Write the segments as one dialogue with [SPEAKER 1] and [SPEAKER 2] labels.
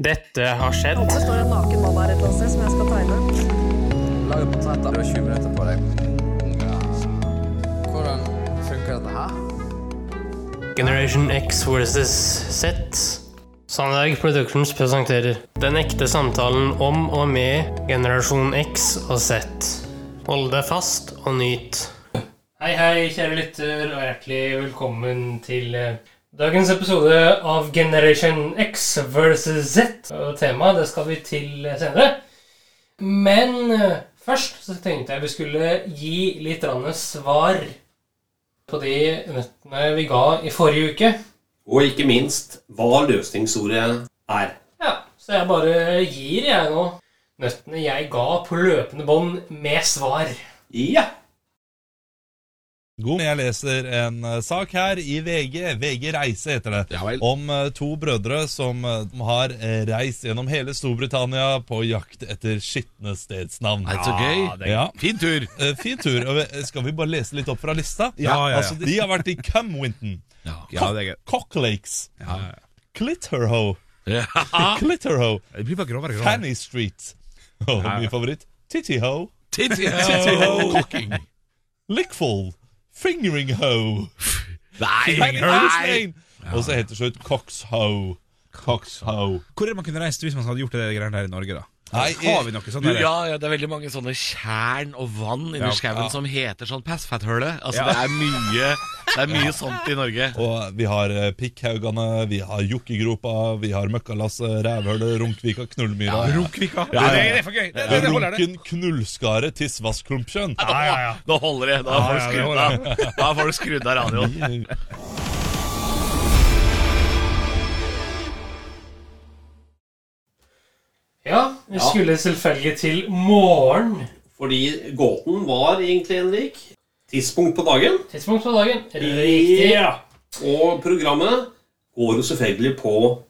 [SPEAKER 1] Dette har skjedd.
[SPEAKER 2] Det står en naken mann her et eller annet sted som jeg skal tegne.
[SPEAKER 3] Lager portretter. Du har 20 minutter på deg. Hvordan funker dette her?
[SPEAKER 1] Generation X versus Z. Sandberg Productions presenterer den ekte samtalen om og med generasjon X og Z. Hold deg fast og nyt. Hei, hei, kjære lytter, og hjertelig velkommen til eh, dagens episode av Generation X versus Z. Og temaet, det skal vi til eh, senere. Men eh, først så tenkte jeg vi skulle gi litt grann svar på de nøttene vi ga i forrige uke.
[SPEAKER 4] Og ikke minst hva løsningsordet er.
[SPEAKER 1] Ja, så jeg bare gir jeg nå nøttene jeg ga på løpende bånd med svar.
[SPEAKER 4] Ja!
[SPEAKER 5] God. Jeg leser en eh, sak her i VG, VG Reise heter det,
[SPEAKER 6] Ja vel.
[SPEAKER 5] om eh, to brødre som eh, har eh, reist gjennom hele Storbritannia på jakt etter skitne stedsnavn.
[SPEAKER 6] Nei, så gøy.
[SPEAKER 5] Ja.
[SPEAKER 6] Fin tur.
[SPEAKER 5] Eh, Fin tur. Og, eh, Skal vi bare lese litt opp fra lista?
[SPEAKER 6] Ja, ja, ja.
[SPEAKER 5] Altså, de har vært i Cumwinton,
[SPEAKER 6] Ja, det er gøy.
[SPEAKER 5] Cocklakes, Clitterhoe,
[SPEAKER 6] Ja.
[SPEAKER 5] Clitterhoe,
[SPEAKER 6] Det blir bare grovere og grovere.
[SPEAKER 5] Fanny Street og
[SPEAKER 6] Ja.
[SPEAKER 5] min favoritt, Tittyhoe,
[SPEAKER 6] Titty
[SPEAKER 5] Titty-ho.
[SPEAKER 6] Cocking.
[SPEAKER 5] Lickful, Fingering-hoe.
[SPEAKER 6] Nei, nei.
[SPEAKER 5] Nei. Og så heter det slutt Coxhoe. Coxhoe.
[SPEAKER 7] Hvor er det man kunne reist hvis man hadde gjort det greiene der i Norge, da? Altså,
[SPEAKER 5] Nei,
[SPEAKER 7] har vi noe sånt?
[SPEAKER 6] Du,
[SPEAKER 7] der?
[SPEAKER 6] ja, ja, det er veldig mange sånne tjern og vann inni
[SPEAKER 7] Ja.
[SPEAKER 6] skauen
[SPEAKER 7] Ja.
[SPEAKER 6] som heter sånn Passfatthøle. Altså,
[SPEAKER 7] Ja.
[SPEAKER 6] det er mye Det er mye sånt i Norge.
[SPEAKER 5] Og vi har eh, Pikkhaugane, vi har Jokkegropa, vi har Møkkalasset, Rævhølet, Runkvika, Knullmyra.
[SPEAKER 7] Runkvika?
[SPEAKER 6] Ja,
[SPEAKER 7] det, det
[SPEAKER 6] ja.
[SPEAKER 7] er for gøy! Det, det, det holder, det.
[SPEAKER 5] Runken, Knullskaret, Tissvassklumpkjønn.
[SPEAKER 6] Nå, nå holder det. Da har
[SPEAKER 7] ja,
[SPEAKER 6] folk
[SPEAKER 7] det
[SPEAKER 6] skrudd
[SPEAKER 7] holder.
[SPEAKER 6] av Da har folk skrudd av radioen.
[SPEAKER 1] Ja, vi
[SPEAKER 4] Ja.
[SPEAKER 1] skulle selvfølgelig til morgen.
[SPEAKER 4] Fordi gåten var egentlig, Henrik, tidspunkt på dagen.
[SPEAKER 1] Tidspunkt på dagen. Riktig.
[SPEAKER 4] Ja. Og programmet går jo selvfølgelig på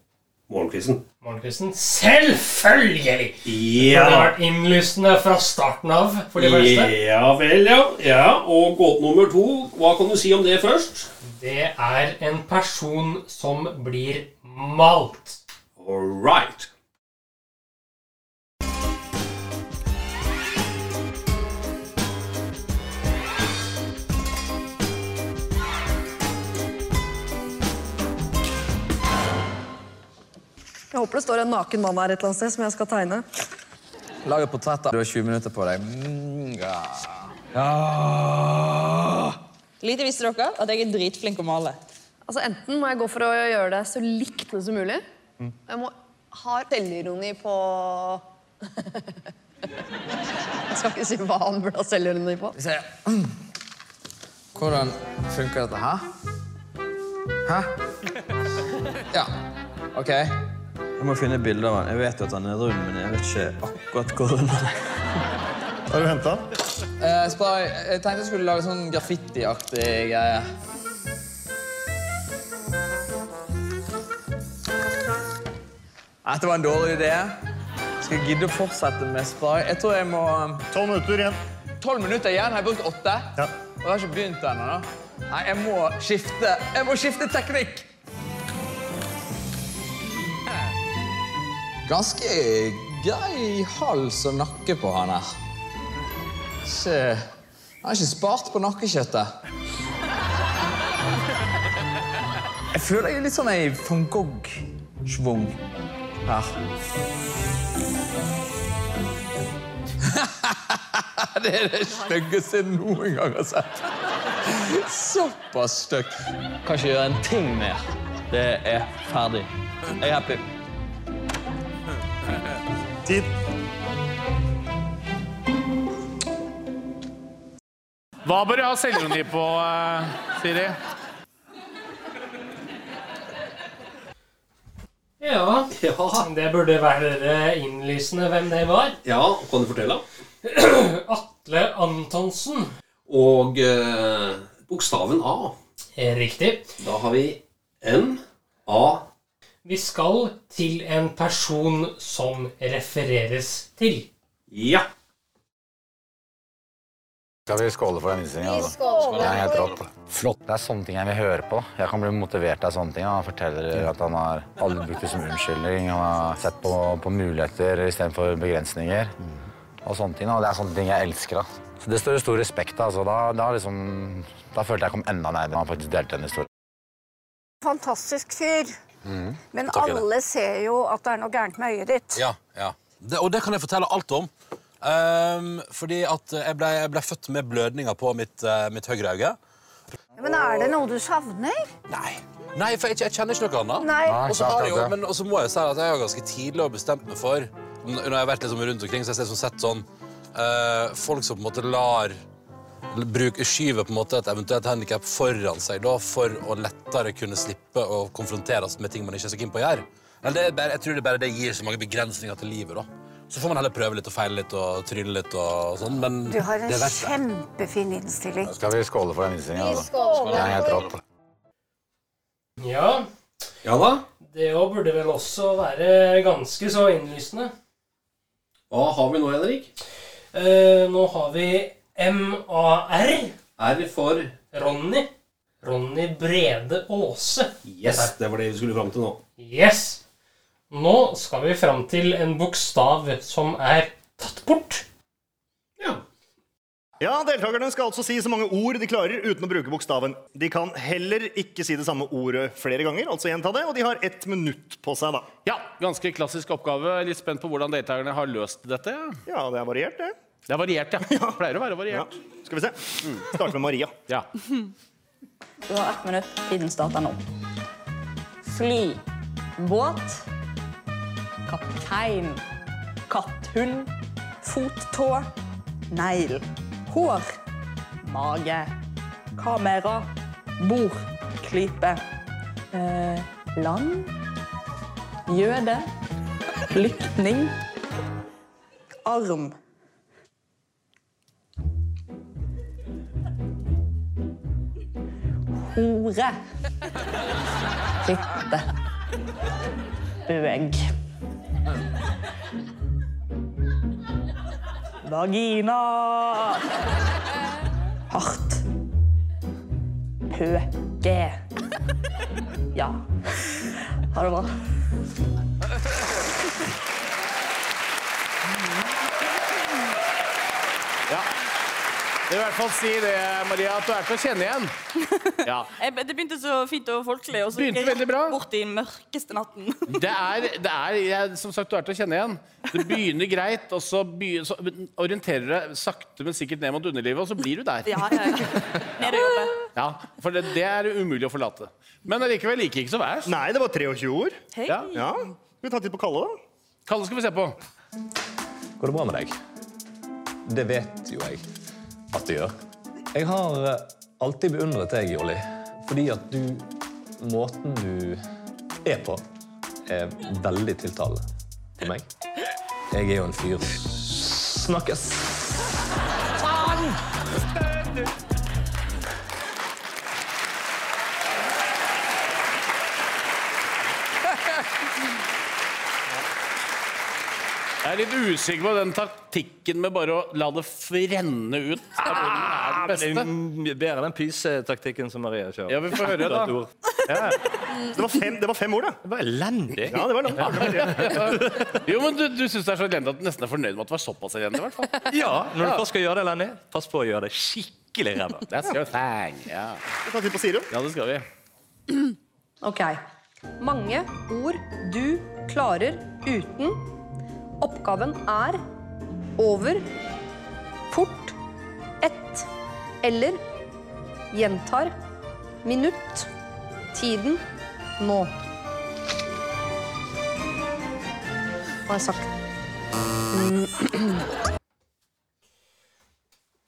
[SPEAKER 4] morgenkvisten.
[SPEAKER 1] Morgenkvisten. Selvfølgelig! Det har
[SPEAKER 4] Ja.
[SPEAKER 1] vært innlysende fra starten av for de fleste.
[SPEAKER 4] ja vel, ja. ja. Og gåte nummer to, hva kan du si om det først?
[SPEAKER 1] Det er en person som blir malt.
[SPEAKER 4] All right.
[SPEAKER 2] Jeg håper det står en naken mann her et eller annet sted som jeg skal tegne.
[SPEAKER 3] Lager portretter. Du har 20 minutter på deg. Mm, ja. Ja.
[SPEAKER 8] Lite visste dere at jeg er dritflink å male.
[SPEAKER 9] Altså, enten må jeg gå for å gjøre det så likt som mulig.
[SPEAKER 3] Mm.
[SPEAKER 9] Jeg må ha selvironi på Jeg skal ikke si hva han burde ha selvironi på.
[SPEAKER 3] Hvis jeg Mm. Hvordan funker dette her? Hæ? Ja. OK. Jeg må finne et bilde av han. Jeg vet jo at han er rund, men jeg vet ikke akkurat hvor rund han er.
[SPEAKER 10] Har du henta den?
[SPEAKER 3] Eh, Spar, jeg tenkte jeg skulle lage sånn graffitiaktig greie. Dette var en dårlig idé. Skal jeg gidde å fortsette med Spar? Jeg tror jeg må um,
[SPEAKER 10] Tolv minutter igjen.
[SPEAKER 3] Tolv minutter igjen. Har jeg brukt åtte?
[SPEAKER 10] Ja.
[SPEAKER 3] Og jeg har ikke begynt ennå. da. Nei, jeg må skifte. Jeg må skifte teknikk. Ganske grei hals og nakke på han her. Ikke Han har ikke spart på nakkekjøttet. Jeg føler jeg er litt sånn ei van Gogh-schwung her. Det er det styggeste jeg noen gang har sett. Såpass stygt. Kan ikke gjøre en ting mer. Det er ferdig. Jeg er happy.
[SPEAKER 10] Tid.
[SPEAKER 11] Hva bør jeg ha selvironi på,
[SPEAKER 4] eh,
[SPEAKER 11] Siri?
[SPEAKER 1] Ja,
[SPEAKER 4] Ja,
[SPEAKER 1] det burde være innlysende hvem det var.
[SPEAKER 4] ja kan du fortelle?
[SPEAKER 1] Atle Antonsen.
[SPEAKER 4] Og eh, bokstaven A.
[SPEAKER 1] Eh, Riktig.
[SPEAKER 4] Da har vi M, A,
[SPEAKER 1] Vi skal til en person som refereres til.
[SPEAKER 4] ja.
[SPEAKER 12] Skal vi skåle for den innstillinga?
[SPEAKER 13] Vi skåler.
[SPEAKER 12] Det er helt rått. Flott. Det er sånne ting jeg vil høre på. Jeg kan bli motivert av sånne ting. Han forteller at han har aldri brukt det som unnskyldning. Han har sett på, på muligheter istedenfor begrensninger. Og sånne ting. Og det er sånne ting jeg elsker. ass. Så det står det stor respekt av. Altså. Da, da, liksom, da følte jeg kom enda nærmere. Han faktisk delte en historie.
[SPEAKER 6] Fantastisk fyr.
[SPEAKER 12] Mm.
[SPEAKER 6] Men
[SPEAKER 14] Takk, Ine.
[SPEAKER 6] alle ser jo at det er noe gærent med øyet ditt.
[SPEAKER 14] Ja, ja. Det, og det kan jeg fortelle alt om. Ehm, fordi at jeg ble, jeg ble født med blødninger på mitt, eh, mitt høyre øye.
[SPEAKER 6] Men er det noe du savner?
[SPEAKER 14] Nei, for jeg, jeg kjenner ikke noe annet.
[SPEAKER 6] Nei. Nei,
[SPEAKER 14] Og så har jeg jo,
[SPEAKER 6] akkurat det.
[SPEAKER 14] men- og så må jeg jo si at jeg har ganske tidlig og bestemt meg for n- Når jeg har vært liksom rundt omkring, så har jeg liksom sett sånn eh, Folk som på en måte lar bruk, Skyver på en måte et eventuelt handikap foran seg da, for å lettere kunne slippe å konfronteres med ting man ikke er så keen på å gjøre. Eller det er bare, jeg tror det er bare det gir så mange begrensninger til livet, da. Så får man heller prøve litt og feile litt og tryne litt og sånn, men
[SPEAKER 6] Du har en
[SPEAKER 14] det er verdt det.
[SPEAKER 6] kjempefin innstilling.
[SPEAKER 12] Skal vi skåle for den altså? innstillinga?
[SPEAKER 6] Vi skåler.
[SPEAKER 12] Det er helt rått.
[SPEAKER 1] Ja,
[SPEAKER 15] Ja da.
[SPEAKER 1] det òg burde vel også være ganske så innlysende.
[SPEAKER 15] Hva har vi nå, Henrik?
[SPEAKER 1] Eh, nå har vi MAR.
[SPEAKER 15] R for
[SPEAKER 1] Ronny. Ronny Brede Aase.
[SPEAKER 15] Yes, det var det vi skulle fram til nå.
[SPEAKER 1] Yes. Nå skal vi fram til en bokstav som er tatt bort.
[SPEAKER 16] Ja, deltakerne skal altså si så mange ord de klarer uten å bruke bokstaven. De kan heller ikke si det samme ordet flere ganger, altså gjenta det, og de har ett minutt på seg, da.
[SPEAKER 4] Ja, ganske klassisk oppgave. Litt spent på hvordan deltakerne har løst dette.
[SPEAKER 16] Ja, det er variert, det.
[SPEAKER 4] Det er variert, ja. Pleier å være variert.
[SPEAKER 16] Skal vi se. Mm, Starte med Maria.
[SPEAKER 4] Ja.
[SPEAKER 17] Du har ett minutt. Tiden starter nå. Fly. Båt. Kaptein. Katthund. Fottå. Negl. Hår. Mage. Kamera. Bord. Klype. Eh, land. Jøde. Flyktning. Arm. Hore. Fitte. Bøg. Vagina. Hart. Pøke. Ja. Ha det bra.
[SPEAKER 4] ja. I hvert fall si det, Maria, at du er til å kjenne igjen. Ja.
[SPEAKER 18] Det begynte så fint og folkelig, og så
[SPEAKER 4] Begynte
[SPEAKER 18] gikk jeg rett bort i den mørkeste natten.
[SPEAKER 4] Det er, det er jeg, Som sagt, du er til å kjenne igjen. Det begynner greit, og så, begy- så orienterer du deg sakte, men sikkert ned mot underlivet, og så blir du der.
[SPEAKER 18] Ja, ja, ja. Ned og jobbe.
[SPEAKER 4] Ja, For det, det er umulig å forlate. Men allikevel gikk ikke så verst.
[SPEAKER 16] Nei, det var 23 ord.
[SPEAKER 18] Hei.
[SPEAKER 4] Ja.
[SPEAKER 16] Skal vi ta en titt på Kalle, da?
[SPEAKER 4] Kalle skal vi se på.
[SPEAKER 5] Går det bra med deg? Det vet jo jeg at det gjør. Jeg har eh, alltid beundret deg, Jolly, fordi at du Måten du er på, er veldig tiltalende for meg. Jeg er jo en fyr Snakkes!
[SPEAKER 19] Faen!
[SPEAKER 4] Jeg er litt usikker på den taktikken med bare å la det frenne ut. Ah,
[SPEAKER 20] men det er m- bedre den pysetaktikken som Maria kjører.
[SPEAKER 4] Ja, vi får høre, da.
[SPEAKER 20] Et ord.
[SPEAKER 16] Det var fem, det var fem ord, da.
[SPEAKER 20] Det var elendig.
[SPEAKER 16] Ja, det var langt.
[SPEAKER 4] Jo, men Du, du syns det er så elendig at du nesten er fornøyd med at det var såpass elendig? i hvert fall.
[SPEAKER 20] Ja, når du
[SPEAKER 4] Ja.
[SPEAKER 20] først skal gjøre det elendig, pass på å gjøre det skikkelig ræva.
[SPEAKER 4] That's your thing, ja.
[SPEAKER 16] Vi tar en titt på Sirum.
[SPEAKER 4] Ja, det skal vi.
[SPEAKER 9] Ok. Mange ord du klarer uten. Oppgaven er over, fort, ett eller gjentar, minutt, tiden, nå. Hva har jeg sagt?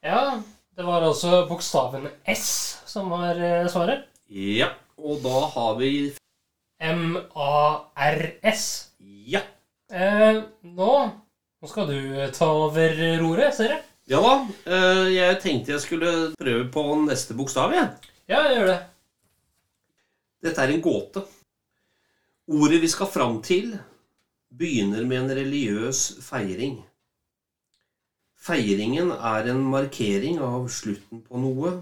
[SPEAKER 1] Ja, det var altså bokstaven S som var eh, svaret.
[SPEAKER 15] Ja, og da har vi
[SPEAKER 1] M-A-R-S.
[SPEAKER 15] Ja.
[SPEAKER 1] Eh, nå, nå skal du eh, ta over roret, ser jeg.
[SPEAKER 15] Ja da. eh, Jeg tenkte jeg skulle prøve på neste bokstav igjen.
[SPEAKER 1] Ja, gjør det.
[SPEAKER 15] Dette er en gåte. Ordet vi skal fram til, begynner med en religiøs feiring.
[SPEAKER 1] Feiringen er en markering av slutten på noe,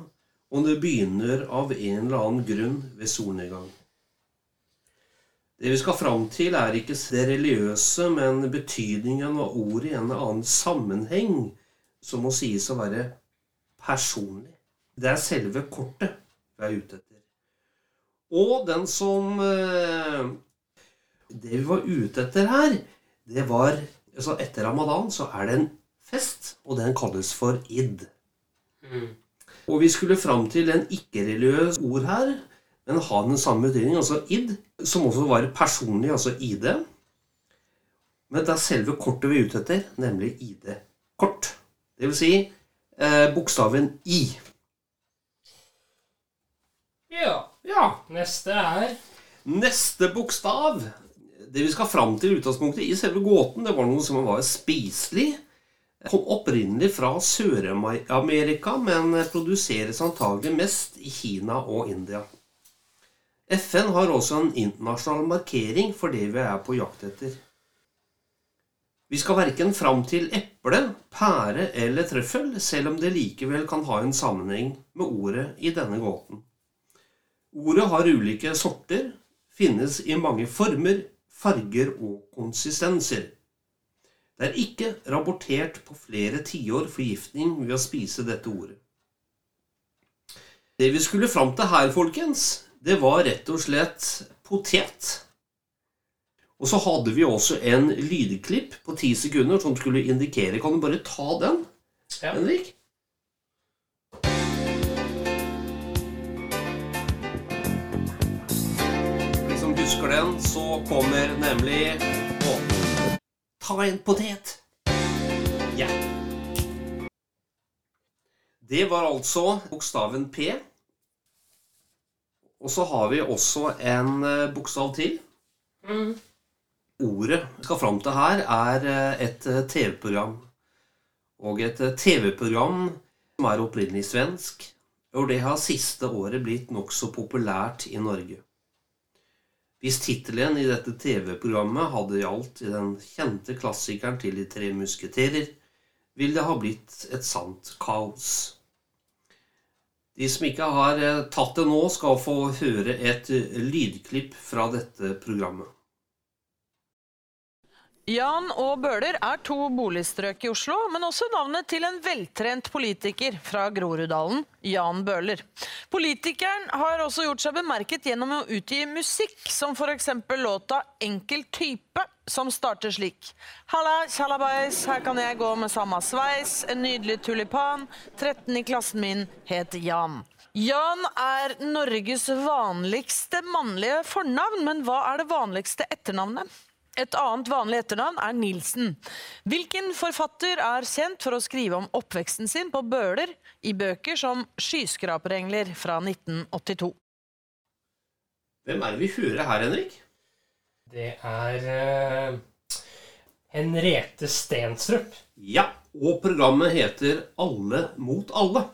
[SPEAKER 1] og det begynner av en eller annen grunn ved solnedgang. Det vi skal fram til, er ikke det religiøse, men betydningen av ordet i en annen sammenheng, som må sies å være personlig. Det er selve kortet vi er ute etter. Og den som eh, Det vi var ute etter her, det var altså Etter ramadan så er det en fest, og den kalles for id.
[SPEAKER 21] Mm.
[SPEAKER 1] Og vi skulle fram til en ikke-religiøs ord her, men ha den samme betydning, altså id, som også var personlig, altså ID. Men det er selve kortet vi er ute etter, nemlig ID-kort. Det vil si eh, bokstaven I.
[SPEAKER 21] Ja. ja. Neste er
[SPEAKER 1] Neste bokstav Det vi skal fram til i utgangspunktet i selve gåten, det var noe som var spiselig. Kom opprinnelig fra Sør-Amerika, men produseres antagelig mest i Kina og India. FN har også en internasjonal markering for det vi er på jakt etter. Vi skal verken fram til eple, pære eller trøffel, selv om det likevel kan ha en sammenheng med ordet i denne gåten. Ordet har ulike sorter, finnes i mange former, farger og konsistenser. Det er ikke rapportert på flere tiår forgiftning ved å spise dette ordet. Det vi skulle fram til her, folkens, det var rett og slett potet. Og så hadde vi også en lydklipp på ti sekunder som skulle indikere Kan du bare ta den, Henrik? De som husker den, så kommer nemlig å, Ta en potet! Ja. Det var altså bokstaven P. Og så har vi også en eh, bokstav til. Ordet vi skal fram til her, er eh, et eh, TV-program. Og et eh, TV-program som er opprinnelig svensk. Og det har siste året blitt nokså populært i Norge. Hvis tittelen i dette TV-programmet hadde gjaldt i den kjente klassikeren til De tre musketerer, ville det ha blitt et sant kaos. De som ikke har eh, tatt det nå, skal få høre et eh, lydklipp fra dette programmet.
[SPEAKER 22] Jan og Bøhler er to boligstrøk i Oslo, men også navnet til en veltrent politiker fra Groruddalen, Jan Bøhler. Politikeren har også gjort seg bemerket gjennom å utgi musikk, som f.eks. låta 'Enkel type', som starter slik. Halla, tjallabais, her kan jeg gå med samme sveis, en nydelig tulipan, 13 i klassen min het Jan. Jan er Norges vanligste mannlige fornavn, men hva er det vanligste etternavnet? Et annet vanlig etternavn er Nilsen. Hvilken forfatter er kjent for å skrive om oppveksten sin på Bøler i bøker som 'Skyskraperengler' fra 1982?
[SPEAKER 1] Hvem er det vi hører her, Henrik?
[SPEAKER 21] Det er eh, Henriette Stenstrup.
[SPEAKER 1] Ja, og programmet heter Alle mot alle.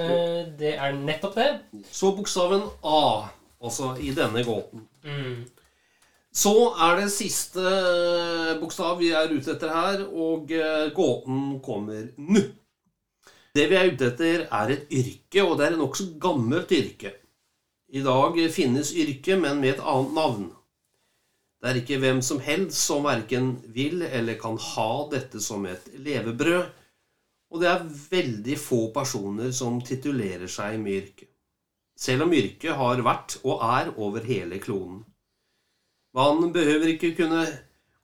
[SPEAKER 21] Eh, det er nettopp det.
[SPEAKER 1] Så bokstaven A, altså i denne gåten. Så er det siste eh, bokstav vi er ute etter her, og eh, gåten kommer nå. Det vi er ute etter, er et yrke, og det er et nokså gammelt yrke. I dag finnes yrket, men med et annet navn. Det er ikke hvem som helst som verken vil eller kan ha dette som et levebrød, og det er veldig få personer som titulerer seg med yrket. Selv om yrket har vært og er over hele kloden. Man behøver ikke kunne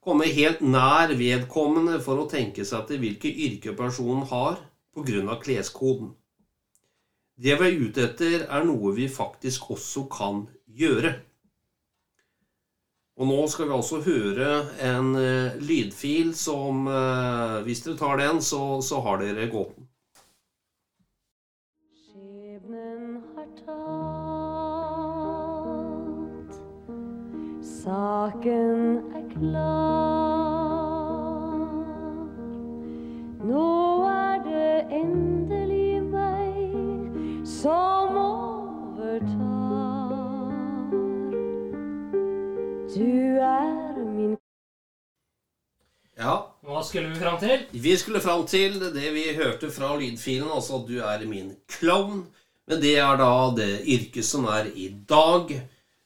[SPEAKER 1] komme helt nær vedkommende for å tenke seg til hvilke yrke personen har pga. kleskoden. Det vi er ute etter, er noe vi faktisk også kan gjøre. Og nå skal vi altså høre en eh, lydfil som eh, Hvis dere tar den, så, så har dere gåten.
[SPEAKER 23] Skjebnen har talt, saken er klar. Nå er det endelig meg som overtar. Du er min
[SPEAKER 1] Ja.
[SPEAKER 21] Hva skulle vi fram til?
[SPEAKER 1] Vi skulle fram til det vi hørte fra lydfilen, altså at du er min klovn. Men det er da det yrket som er i dag.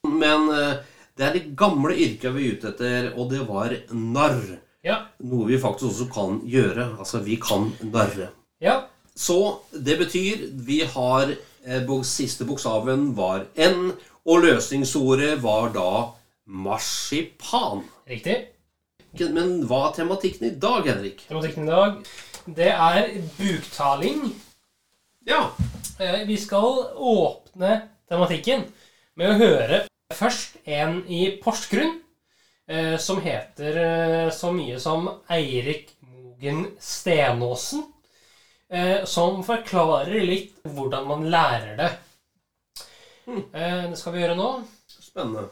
[SPEAKER 1] Men eh, det er det gamle yrket vi er ute etter, og det var narr.
[SPEAKER 21] Ja.
[SPEAKER 1] Noe vi faktisk også kan gjøre. Altså, vi kan narre.
[SPEAKER 21] Ja.
[SPEAKER 1] Så det betyr vi har eh, bok- Siste bokstaven var N, og løsningsordet var da marsipan.
[SPEAKER 21] Riktig.
[SPEAKER 1] Men hva er tematikken i dag, Henrik?
[SPEAKER 21] Tematikken i dag, det er buktaling. Eh,
[SPEAKER 1] Ja.
[SPEAKER 21] Vi skal åpne tematikken med å høre først en i Porsgrunn eh, som heter eh, så mye som Eirik Mogen Stenåsen, eh, som forklarer litt hvordan man lærer det.
[SPEAKER 4] Hmm.
[SPEAKER 21] Eh, Det skal vi gjøre nå.
[SPEAKER 1] Spennende.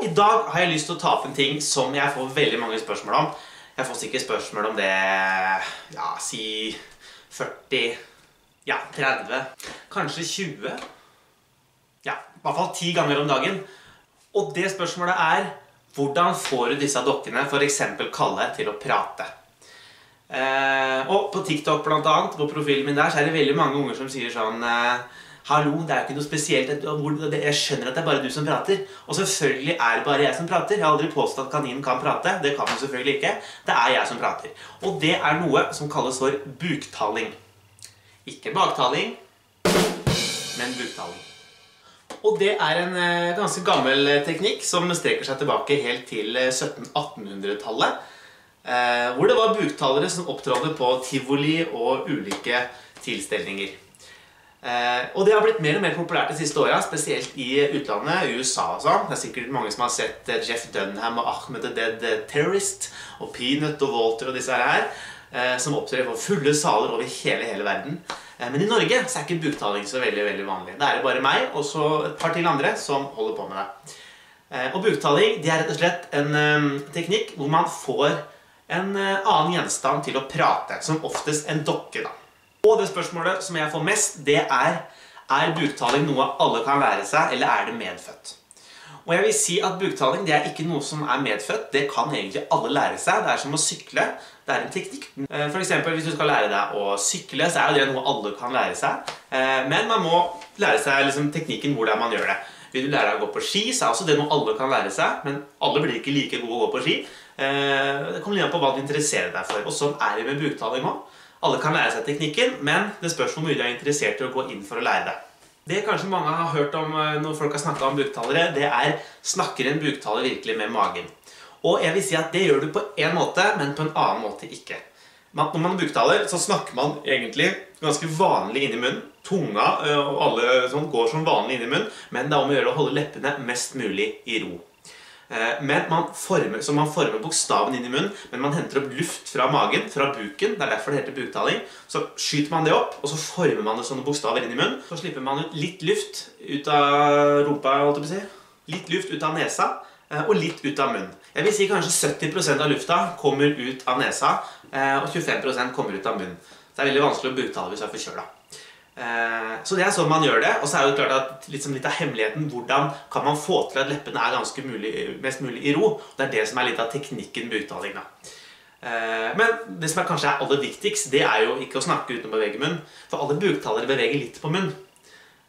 [SPEAKER 24] I dag har jeg lyst til å ta opp en ting som jeg får veldig mange spørsmål om. Jeg får sikkert spørsmål om det ja, si 40 Ja, 30. Kanskje 20. Ja, i hvert fall 10 ganger om dagen. Og det spørsmålet er hvordan får du disse dokkene, f.eks. Kalle, til å prate? Eh, og på TikTok blant annet, på profilen min der, så er det veldig mange unger som sier sånn eh, Hallo, det er jo ikke noe spesielt. det- hvor- det- Jeg skjønner at det er bare du som prater. Og selvfølgelig er det bare jeg som prater. Jeg har aldri påstått at kaninen kan prate. Det kan den selvfølgelig ikke. Det er jeg som prater. Og det er noe som kalles for buktaling. Ikke baktaling, men buktaling. Og det er en eh, ganske gammel eh, teknikk som streker seg tilbake helt til eh, 1700-1800-tallet. Eh, hvor det var buktalere som opptrådde på tivoli og ulike tilstelninger. Eh, og det har blitt mer og mer populært de siste åra, spesielt i utlandet, i USA og sånn. Det er sikkert mange som har sett eh, Jeff Dunham og Ahmed the Dead eh, Terrorist og Peanut og Walter og disse her, eh, som opptrer for fulle saler over hele, hele verden. Eh, men i Norge så er ikke buktaling så veldig, veldig vanlig. Da er det bare meg og så et par til andre som holder på med det. Eh, Og buktaling det er rett og slett en eh, teknikk hvor man får en eh, annen gjenstand til å prate, som oftest en dokke. da. Og det spørsmålet som jeg får mest, det er er buktaling noe alle kan lære seg, eller er det medfødt? Og jeg vil si at Buktaling det er ikke noe som er medfødt. Det kan egentlig alle lære seg. Det er som å sykle. Det er en teknikk. Eh, For eksempel, hvis du skal lære deg å sykle, så er jo det noe alle kan lære seg. Eh, Men man må lære seg liksom, teknikken hvordan man gjør det. Vil du lære deg å gå på ski, så er også det noe alle kan lære seg. Men alle blir ikke like gode å gå på ski. Eh, Det kommer litt an på hva du interesserer deg for. Og sånn er det med buktaling òg. Alle kan lære seg teknikken, men det spørs hvor mye du er interessert i å gå inn for å lære det. Det kanskje mange har hørt om eh, når folk har snakka om buktalere, det er snakker en buktaler virkelig med magen. Og jeg vil si at det gjør du på én måte, men på en annen måte ikke. Man, når man buktaler, så snakker man egentlig ganske vanlig inni munnen. Tunga eh, og alle sånn går som vanlig inni munnen, men det er om å gjøre å holde leppene mest mulig i ro. Eh, Men man former, så man former bokstaven inn i munnen, men man henter opp luft fra magen, fra buken. Det er derfor det heter buktaling. Så skyter man det opp, og så former man det sånne bokstaver inn i munnen. Så slipper man ut litt luft ut av rumpa, holdt jeg på å si. Litt luft ut av nesa, eh, og litt ut av munnen. Jeg vil si kanskje 70 av lufta kommer ut av nesa, eh, og 25 kommer ut av munnen. Så det er veldig vanskelig å buktale hvis du er forkjøla. Eh, Så det er sånn man gjør det. Og så er det jo klart at liksom litt av hemmeligheten hvordan kan man få til at leppene er ganske mulig, mest mulig i ro. Det er det som er litt av teknikken med uttaling. da. Eh, Men det som er kanskje er aller viktigst, det er jo ikke å snakke uten å bevege munn. For alle buktalere beveger litt på munn.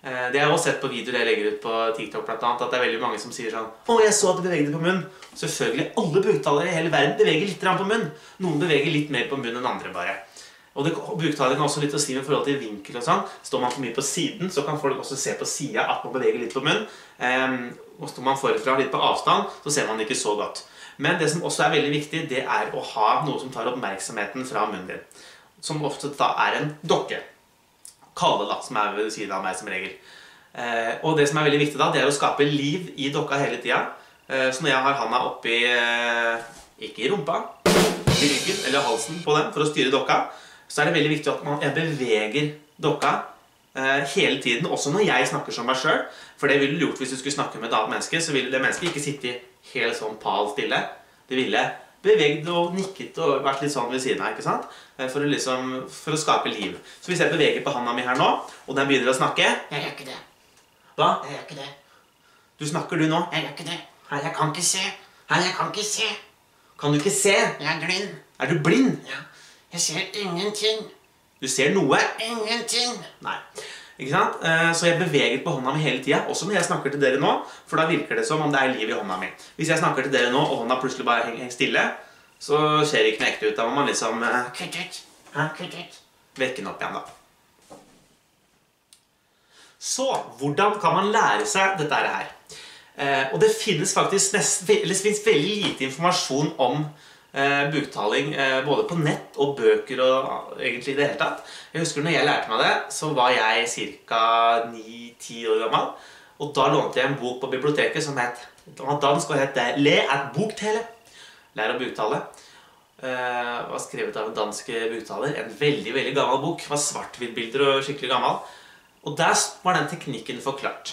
[SPEAKER 24] Eh, Det har jeg også sett på videoer jeg legger ut på TikTok, blant annet, at det er veldig mange som sier sånn Å, jeg så at du beveget deg på munn. Selvfølgelig. Alle buktalere i hele verden beveger litt grann på munn. Noen beveger litt mer på munn enn andre, bare. Og det buktaler kan også litt å si med forhold til vinkel og sånn. Står man for mye på siden, så kan folk også se på sida at man beveger litt på munnen. Ehm, og står man forfra litt på avstand, så ser man det ikke så godt. Men det som også er veldig viktig, det er å ha noe som tar oppmerksomheten fra munnen din. Som ofte da er en dokke. Kalle, da, som er ved siden av meg som regel. Eh, og det som er veldig viktig da, det er å skape liv i dokka hele tida. Eh, så når jeg har handa oppi eh, Ikke i rumpa, i ryggen eller halsen på den for å styre dokka, så er det veldig viktig at man jeg beveger dokka eh, hele tiden, også når jeg snakker som meg sjøl. For det ville du gjort hvis du skulle snakke med et annet menneske. Så ville det mennesket ikke sitte helt sånn pal stille. Det ville bevegd og nikket og vært litt sånn ved siden av. ikke sant? Eh, For å, liksom, for å skape liv. Så hvis jeg beveger på handa mi her nå, og den begynner å snakke Jeg gjør ikke det. Hva? Jeg gjør ikke det. Du snakker, du nå. Jeg gjør ikke det. Nei, jeg kan ikke se. Nei, jeg kan ikke se. Kan du ikke se? Jeg er blind. Er du blind? Ja. Jeg ser ingenting. Du ser noe? Ingenting. Nei. Ikke sant? Eh, Så jeg beveger på hånda mi hele tida, også når jeg snakker til dere nå. For da virker det som om det er liv i hånda mi. Hvis jeg snakker til dere nå, og hånda plutselig bare henger henger stille, så ser det ikke noe ekte ut. Da må man liksom eh, kut, kut, ja, kut, kut, vekke den opp igjen, da. Så hvordan kan man lære seg dette her? Eh, og det finnes faktisk nesten, eller det finnes veldig lite informasjon om eh, buktaling eh, både på nett og bøker og ah, egentlig i det hele tatt. Jeg husker når jeg lærte meg det, så var jeg ca. 9-10 år gammel. Og da lånte jeg en bok på biblioteket som het den var dansk og het eh, Le et buktale. Lær å buktale. Eh, var skrevet av en dansk buktaler. En veldig veldig gammel bok. Var svart-hvitt-bilder og skikkelig gammel. Og der var den teknikken forklart.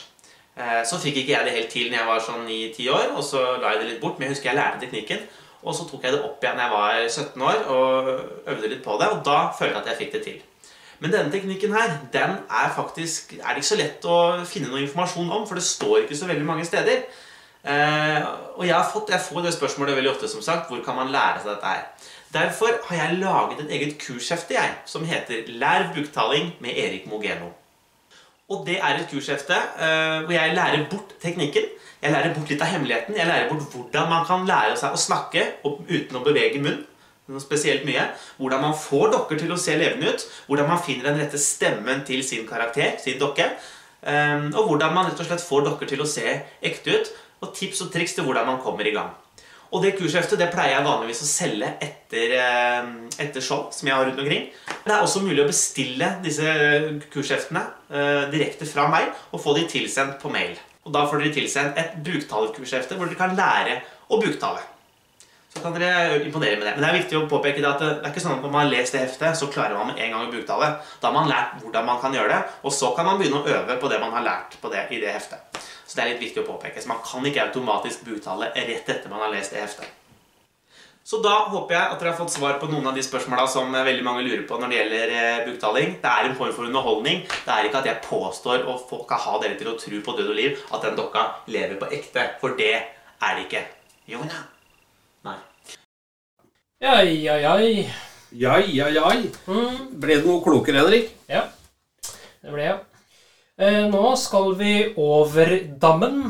[SPEAKER 24] Eh, Så fikk ikke jeg det helt til når jeg var sånn 9-10 år, og så la jeg det litt bort. Men jeg husker jeg lærte teknikken, og så tok jeg det opp igjen da jeg var 17 år og øvde litt på det, og da følte jeg at jeg fikk det til. Men denne teknikken her, den er faktisk er det ikke så lett å finne noe informasjon om, for det står ikke så veldig mange steder. Eh, og jeg, har fått, jeg får det spørsmålet veldig ofte, som sagt. Hvor kan man lære seg dette her? Derfor har jeg laget et eget kurshefte jeg, som heter 'Lær buktaling med Erik Mogeno'. Og det er et kurshefte eh, hvor jeg lærer bort teknikken. Jeg lærer bort litt av hemmeligheten. Jeg lærer bort hvordan man kan lære seg å snakke og- uten å bevege munn. Noe spesielt mye. Hvordan man får dokker til å se levende ut. Hvordan man finner den rette stemmen til sin karakter, sin dokke. eh, Og hvordan man rett og slett får dokker til å se ekte ut. Og tips og triks til hvordan man kommer i gang. Og det kursheftet det pleier jeg vanligvis å selge etter, eh, etter show som jeg har rundt omkring. Det er også mulig å bestille disse eh, kursheftene eh, direkte fra meg og få de tilsendt på mail. Og da får dere tilsendt et buktalerkurshefte hvor dere kan lære å buktale. Så kan dere imponere med det. Men det er viktig å påpeke det at det er ikke sånn at når man har lest det heftet, så klarer man med en gang å buktale. Da har man lært hvordan man kan gjøre det, og så kan man begynne å øve på det man har lært på det i det heftet. Så det er litt viktig å påpeke. Så man kan ikke automatisk buktale rett etter man har lest det heftet. Så da håper jeg at dere har fått svar på noen av de spørsmåla som eh, veldig mange lurer på når det gjelder eh, buktaling. Det er en form for underholdning. Det er ikke at jeg påstår og folk kan ha dere til å tro på død og liv at den dokka lever på ekte. For det er det ikke. Jo da. Nei.
[SPEAKER 1] Jai, jai, jai.
[SPEAKER 4] Jai, jai, jai.
[SPEAKER 21] Hmm.
[SPEAKER 4] Ble du noe klokere, Henrik?
[SPEAKER 1] Ja, det ble jeg. Eh, Nå skal vi over dammen.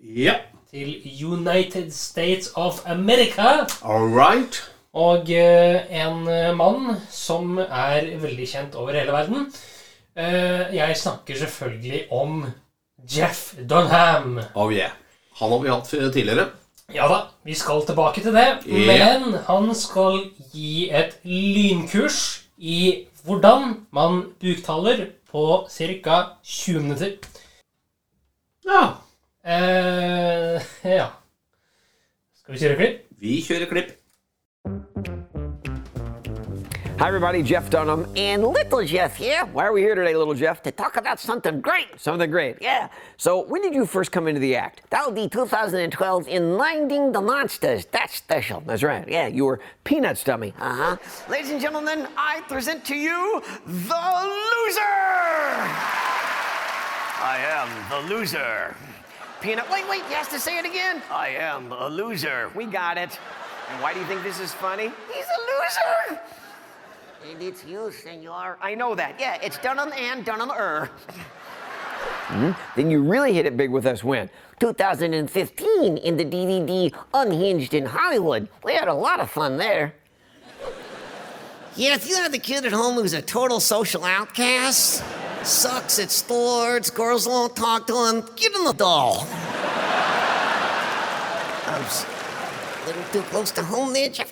[SPEAKER 4] Ja.
[SPEAKER 1] Til United States of America.
[SPEAKER 4] All right.
[SPEAKER 1] Og eh, en eh, mann som er veldig kjent over hele verden. Eh, Jeg snakker selvfølgelig om Jeff Dunham.
[SPEAKER 4] Oh yeah. Han har vi hatt tidligere.
[SPEAKER 1] Ja da, vi skal tilbake til det.
[SPEAKER 4] Ja.
[SPEAKER 1] Men han skal gi et lynkurs i hvordan man buktaler på ca. 20 minutter.
[SPEAKER 4] Ja.
[SPEAKER 1] Eh, ja. Skal vi kjøre klipp?
[SPEAKER 4] Vi kjører klipp.
[SPEAKER 25] Hi, everybody. Jeff Dunham and Little Jeff here. Why are we here today, Little Jeff? To talk about something great. Something great, yeah. So, when did you first come into the act?
[SPEAKER 6] That would be 2012 in Minding the Monsters. That's special.
[SPEAKER 25] That's right, yeah. You were Peanuts dummy. Uh-huh.
[SPEAKER 6] Uh huh. Ladies and gentlemen, I present to you the loser.
[SPEAKER 25] I am the loser.
[SPEAKER 6] Peanut. Wait, wait. He has to say it again.
[SPEAKER 25] I am a loser. We got it. And why do you think this is funny?
[SPEAKER 6] He's a loser. And it's you, senor. I know that. Yeah, it's Dunham and Dunham Er.
[SPEAKER 25] Hmm? Then you really hit it big with us when?
[SPEAKER 6] 2015 in the DVD Unhinged in Hollywood. We had a lot of fun there.
[SPEAKER 25] Yeah, if you have the kid at home who's a total social outcast, sucks at sports, girls won't talk to him, give him a doll.
[SPEAKER 6] I was a little too close to home there, Jeff.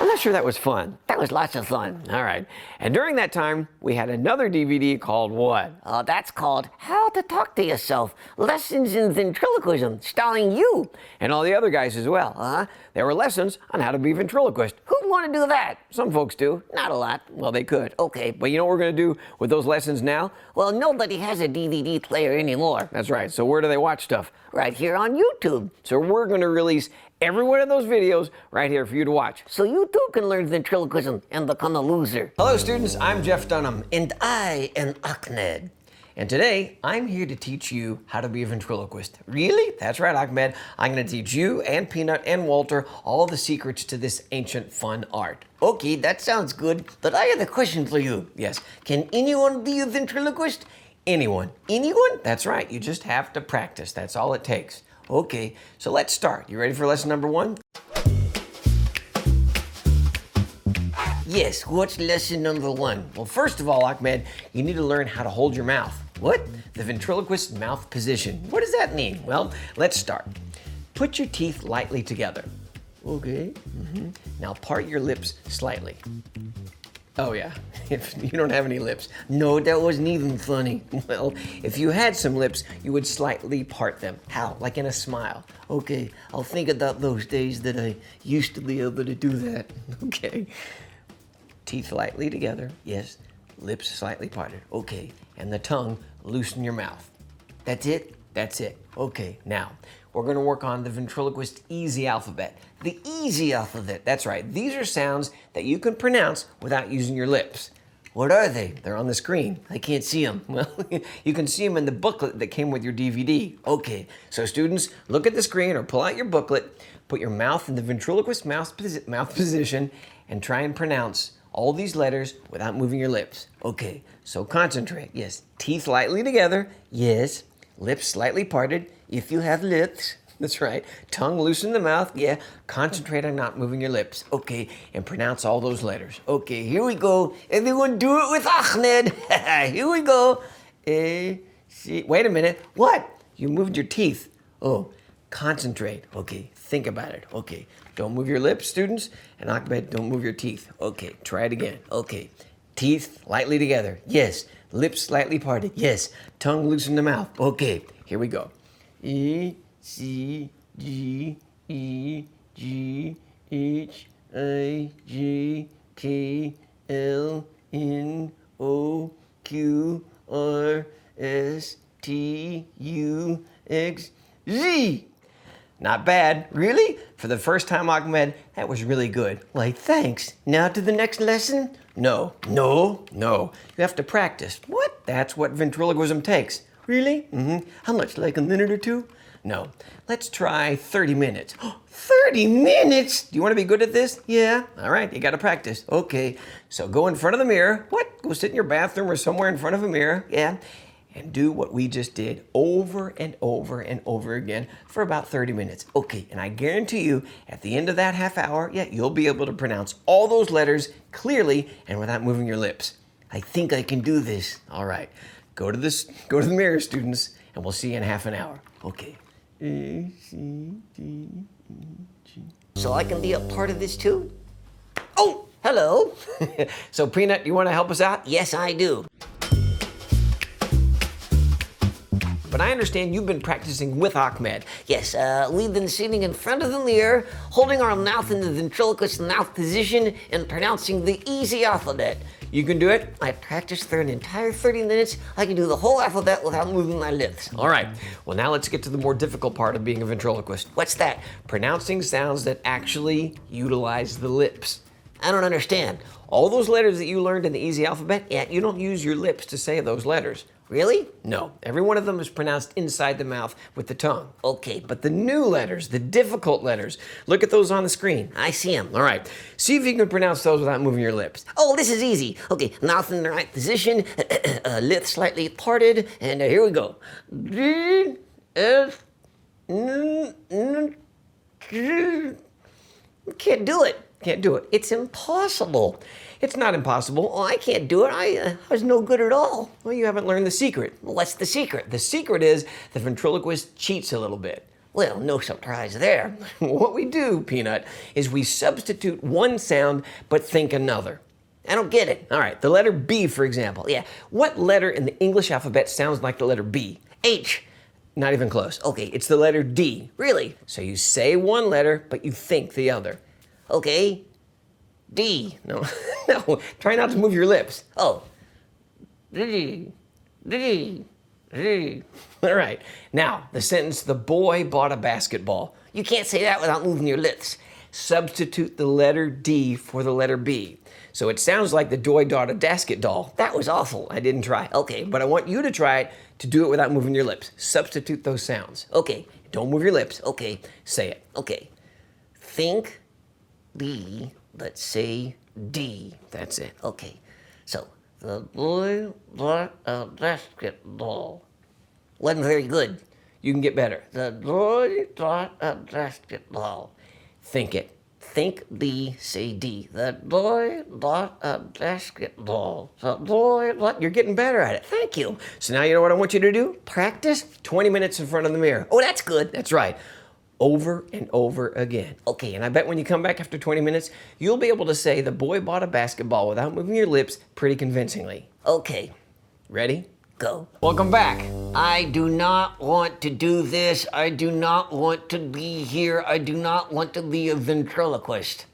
[SPEAKER 25] I'm not sure that was fun.
[SPEAKER 6] That
[SPEAKER 25] was lots of fun. All right. And during that time, we had another DVD called what?
[SPEAKER 6] Uh, that's called How to Talk to Yourself Lessons in Ventriloquism, starring you.
[SPEAKER 25] And all the other guys as well. Uh-huh. There were lessons on how to be a ventriloquist.
[SPEAKER 6] Who'd want to do that?
[SPEAKER 25] Some folks do.
[SPEAKER 6] Not a lot.
[SPEAKER 25] Well, they could.
[SPEAKER 6] Okay.
[SPEAKER 25] But you know what we're going to do with those lessons now?
[SPEAKER 6] Well, nobody has a DVD player anymore.
[SPEAKER 25] That's right. So where do they watch stuff?
[SPEAKER 6] Right here on YouTube.
[SPEAKER 25] So we're going to release every one of those videos right here for you to watch.
[SPEAKER 6] So you too can learn ventriloquism and become a loser.
[SPEAKER 25] Hello, students. I'm Jeff Dunham.
[SPEAKER 6] And I am Ahmed.
[SPEAKER 25] And today, I'm here to teach you how to be a ventriloquist. Really? That's right, Ahmed. I'm going to teach you and Peanut and Walter all the secrets to this ancient fun art.
[SPEAKER 6] Okay, that sounds good, but I have a question for you.
[SPEAKER 25] Yes.
[SPEAKER 6] Can anyone be a ventriloquist?
[SPEAKER 25] Anyone. Anyone? That's right. You just have to practice. That's all it takes. Okay, so let's start. You ready for lesson number one?
[SPEAKER 6] Yes, what's lesson number one?
[SPEAKER 25] Well, first of all, Ahmed, you need to learn how to hold your mouth. What? The ventriloquist mouth position. What does that mean? Well, let's start. Put your teeth lightly together. Okay.
[SPEAKER 6] Mm-hmm.
[SPEAKER 25] mhm. Now part your lips slightly. Oh, yeah. If you don't have any lips. No, that wasn't even funny. Well, if you had some lips, you would slightly part them. How? Like in a smile.
[SPEAKER 6] Okay, I'll think about those days that I used to be able to do that. Okay.
[SPEAKER 25] Teeth lightly together. Yes. Lips slightly parted. Okay. And the tongue, loosen your mouth. That's it? That's it. Okay. Now, we're going to work on the ventriloquist easy alphabet. The easy alphabet. That's right. These are sounds that you can pronounce without using your lips. What are they? They're on the screen. I can't see them. Well, you can see them in the booklet that came with your DVD. Okay, so students, look at the screen or pull out your booklet, put your mouth in the ventriloquist mouth, posi- mouth position, and try and pronounce all these letters without moving your lips. Okay, so concentrate. Yes, teeth lightly together. Yes, lips slightly parted. If you have lips. That's right. Tongue loose in the mouth. Yeah. Concentrate on not moving your lips. Okay. And pronounce all those letters. Okay. Here we go. Everyone do it with Ahmed. here we go. Eh, A, C. Wait a minute. What? You moved your teeth. Oh, concentrate. Okay. Think about it. Okay. Don't move your lips, students. And Ahmed, don't move your teeth. Okay. Try it again. Okay. Teeth lightly together. Yes. Lips slightly parted. Yes. Tongue loose in the mouth. Okay. Here we go. E C G E G H I J K L N O Q R S T U X Z. Not bad. Really? For the first time, Ahmed, that was really good. Like, thanks. Now to the next lesson? No, no, no. You have to practice. What? That's what ventriloquism takes. Really? Mm-hmm. How much? Like a minute or two? No. Let's try 30 minutes. 30 minutes? Do you want to be good at this? Yeah. All right, you got to practice. Okay. So go in front of the mirror. What? Go sit in your bathroom or somewhere in front of a mirror. Yeah. And do what we just did over and over and over again for about 30 minutes. Okay, and I guarantee you, at the end of that half hour, yeah, you'll be able to pronounce all those letters clearly and without moving your lips. I think I can do this. All right. Go to this go to the mirror, students, and we'll see you in half an hour. Okay.
[SPEAKER 6] So I can be a part of this too?
[SPEAKER 25] Oh, hello. so, Peanut, you want to help us out? Yes, I do. But I understand you've been practicing with Ahmed.
[SPEAKER 6] Yes, uh, we've been sitting in front of the mirror, holding our mouth in the ventriloquist mouth position, and pronouncing the easy alphabet.
[SPEAKER 25] You can do it?
[SPEAKER 6] I practiced for an entire 30 minutes. I can do the whole alphabet without moving my lips.
[SPEAKER 25] All right. Well, now let's get to the more difficult part of being a ventriloquist. What's that? Pronouncing sounds that actually utilize the lips. I don't understand. All those letters that you learned in the easy alphabet, yeah, you don't use your lips to say those letters. Really? No. Every one of them is pronounced inside the mouth with the tongue. Okay. But the new letters, the difficult letters, look at those on the screen. I see them. All right. See if you can pronounce those without moving your lips.
[SPEAKER 6] Oh, this is easy. Okay, mouth in the right position, uh, lips slightly parted, and uh, here we go. G F N N G. Can't do it.
[SPEAKER 25] Can't do it. It's impossible. It's not impossible. Oh, I can't do it. I, uh, I was no good at all. Well, you haven't learned the secret. What's the secret? The secret is the ventriloquist cheats a little bit. Well, no surprise there. what we do, Peanut, is we substitute one sound but think another. I don't get it. All right, the letter B, for example. Yeah, what letter in the English alphabet sounds like the letter B? H. Not even close. Okay, it's the letter D. Really? So you say one letter, but you think the other. Okay, D. No, no. Try not to move your lips. Oh, D. D. D. All right. Now, the sentence the boy bought a basketball. You can't say that without moving your lips. Substitute the letter D for the letter B. So it sounds like the boy bought a basket doll. That was awful. I didn't try. Okay, but I want you to try it to do it without moving your lips. Substitute those sounds. Okay, don't move your lips. Okay, say it. Okay. Think D. Let's say D. That's it. Okay. So the boy bought a basketball. Wasn't very good. You can get better. The boy bought a basketball. Think it. Think B, say D. The boy bought a basketball. The boy bought. You're getting better at it. Thank you. So now you know what I want you to do? Practice 20 minutes in front of the mirror. Oh, that's good. That's right over and over again. Okay, and I bet when you come back after 20 minutes, you'll be able to say the boy bought a basketball without moving your lips pretty convincingly. Okay, ready? Go.
[SPEAKER 6] Welcome back. I do not want to do this. I do not want to be here. I do not want to be a ventriloquist.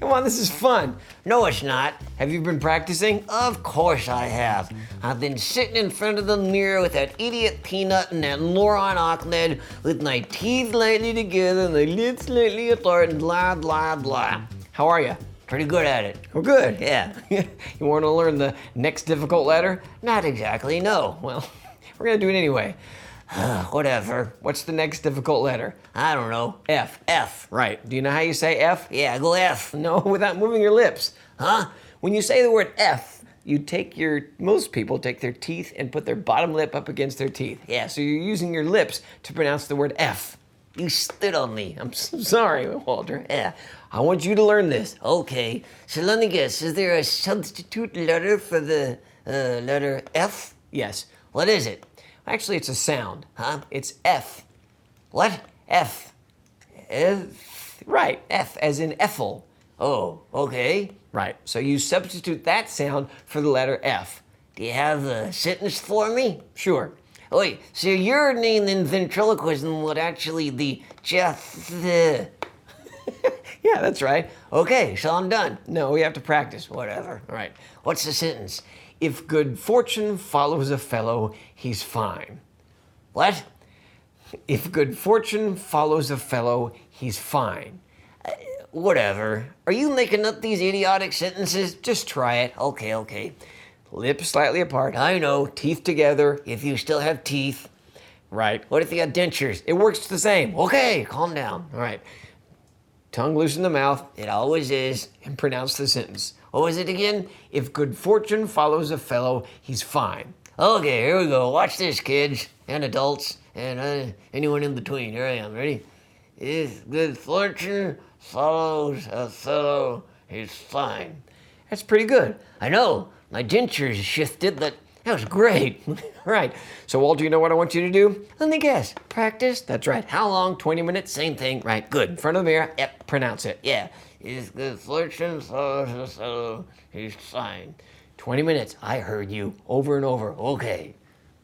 [SPEAKER 25] Come on, this is fun.
[SPEAKER 6] No, it's not.
[SPEAKER 25] Have you been practicing?
[SPEAKER 6] Of course I have. I've been sitting in front of the mirror with that idiot Peanut and that moron Ahmed with my teeth lightly together and my lips lightly apart and blah, blah, blah.
[SPEAKER 25] How are you?
[SPEAKER 6] Pretty good at it.
[SPEAKER 25] We're good.
[SPEAKER 6] Yeah.
[SPEAKER 25] you want to learn the next difficult letter?
[SPEAKER 6] Not exactly, no.
[SPEAKER 25] Well, we're going to do it anyway.
[SPEAKER 6] Whatever.
[SPEAKER 25] What's the next difficult letter?
[SPEAKER 6] I don't know.
[SPEAKER 25] F.
[SPEAKER 6] F.
[SPEAKER 25] Right. Do you know how you say F?
[SPEAKER 6] Yeah, go F.
[SPEAKER 25] No, without moving your lips.
[SPEAKER 6] Huh?
[SPEAKER 25] When you say the word F, you take your, most people take their teeth and put their bottom lip up against their teeth. Yeah, so you're using your lips to pronounce the word F.
[SPEAKER 6] You stood on me.
[SPEAKER 25] I'm so sorry, Walter.
[SPEAKER 6] Yeah.
[SPEAKER 25] I want you to learn this.
[SPEAKER 6] Okay. So let me guess. Is there a substitute letter for the uh, letter F?
[SPEAKER 25] Yes.
[SPEAKER 6] What is it?
[SPEAKER 25] Actually, it's a sound.
[SPEAKER 6] Huh?
[SPEAKER 25] It's F.
[SPEAKER 6] What? F. F.
[SPEAKER 25] Right, F as in Ethel.
[SPEAKER 6] Oh, okay.
[SPEAKER 25] Right, so you substitute that sound for the letter F.
[SPEAKER 6] Do you have a sentence for me?
[SPEAKER 25] Sure.
[SPEAKER 6] Wait, so your name in ventriloquism would actually be Jeff the.
[SPEAKER 25] Yeah, that's right.
[SPEAKER 6] Okay, so I'm done.
[SPEAKER 25] No, we have to practice.
[SPEAKER 6] Whatever.
[SPEAKER 25] All right.
[SPEAKER 6] What's the sentence?
[SPEAKER 25] If good fortune follows a fellow, he's fine.
[SPEAKER 6] What?
[SPEAKER 25] If good fortune follows a fellow, he's fine. Uh,
[SPEAKER 6] Whatever. Are you making up these idiotic sentences?
[SPEAKER 25] Just try it.
[SPEAKER 6] Okay, okay.
[SPEAKER 25] Lips slightly apart.
[SPEAKER 6] I know.
[SPEAKER 25] Teeth together.
[SPEAKER 6] If you still have teeth.
[SPEAKER 25] Right.
[SPEAKER 6] What if you got dentures?
[SPEAKER 25] It works the same.
[SPEAKER 6] Okay, calm down.
[SPEAKER 25] All right. Tongue loose in the mouth
[SPEAKER 6] It always is.
[SPEAKER 25] and pronounce the sentence.
[SPEAKER 6] What was it again?
[SPEAKER 25] If good fortune follows a fellow, he's fine.
[SPEAKER 6] Okay, here we go. Watch this, kids and adults and uh, anyone in between. Here I am. Ready? If good fortune follows a fellow, he's fine.
[SPEAKER 25] That's pretty good.
[SPEAKER 6] I know my dentures shifted, but that was great.
[SPEAKER 25] right. So, Walter, you know what I want you to do?
[SPEAKER 6] Let me guess. Practice.
[SPEAKER 25] That's right. How long? 20 minutes?
[SPEAKER 6] Same thing.
[SPEAKER 25] Right. Good. In front of the mirror. Yep. Pronounce it.
[SPEAKER 6] Yeah. If good fortune follows a fellow, he's fine.
[SPEAKER 25] 20 minutes.
[SPEAKER 6] I heard you.
[SPEAKER 25] Over and over.
[SPEAKER 6] Okay.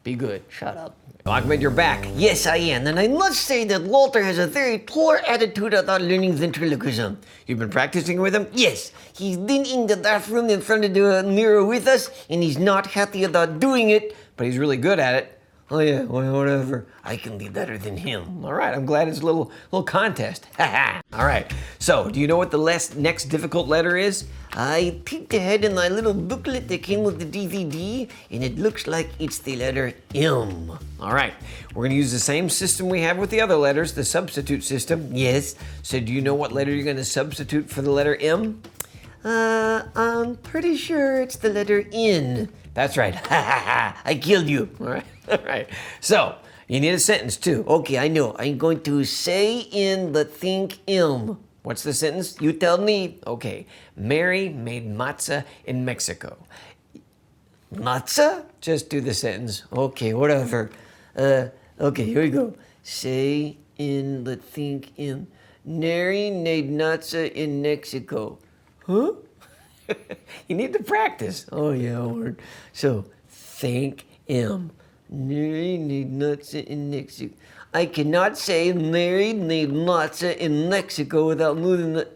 [SPEAKER 25] Be good.
[SPEAKER 6] Shut up.
[SPEAKER 25] Ahmed, you're back.
[SPEAKER 6] Yes, I am, and I must say that Walter has a very poor attitude about learning ventriloquism.
[SPEAKER 25] You've been practicing with him?
[SPEAKER 6] Yes, he's been in the bathroom in front of the mirror with us, and he's not happy about doing it.
[SPEAKER 25] But he's really good at it.
[SPEAKER 6] Oh yeah, wha- whatever. I can be better than him.
[SPEAKER 25] All right. I'm glad it's a little, little contest. Ha ha. All right. So, do you know what the last, next difficult letter is?
[SPEAKER 6] I peeked ahead in my little booklet that came with the DVD, and it looks like it's the letter M.
[SPEAKER 25] All right. We're going to use the same system we have with the other letters, the substitute system. Yes. So, do you know what letter you're going to substitute for the letter M?
[SPEAKER 6] Uh, I'm pretty sure it's the letter N.
[SPEAKER 25] That's right.
[SPEAKER 6] Ha ha ha! I killed you.
[SPEAKER 25] All right. All right. So, you need a sentence too.
[SPEAKER 6] Okay, I know. I'm going to say in but think im.
[SPEAKER 25] What's the sentence?
[SPEAKER 6] You tell me.
[SPEAKER 25] Okay. Mary made matzah in Mexico.
[SPEAKER 6] Matzah?
[SPEAKER 25] Just do the sentence.
[SPEAKER 6] Okay, whatever. Uh, okay, here we go. Say
[SPEAKER 25] in, let's think in, Neri Nadnatsa in Mexico. Huh? you need to practice. Oh, yeah, Lord. So, thank him. Neri Nadnatsa in Mexico. I cannot say Neri Nadnatsa in Mexico without losing the.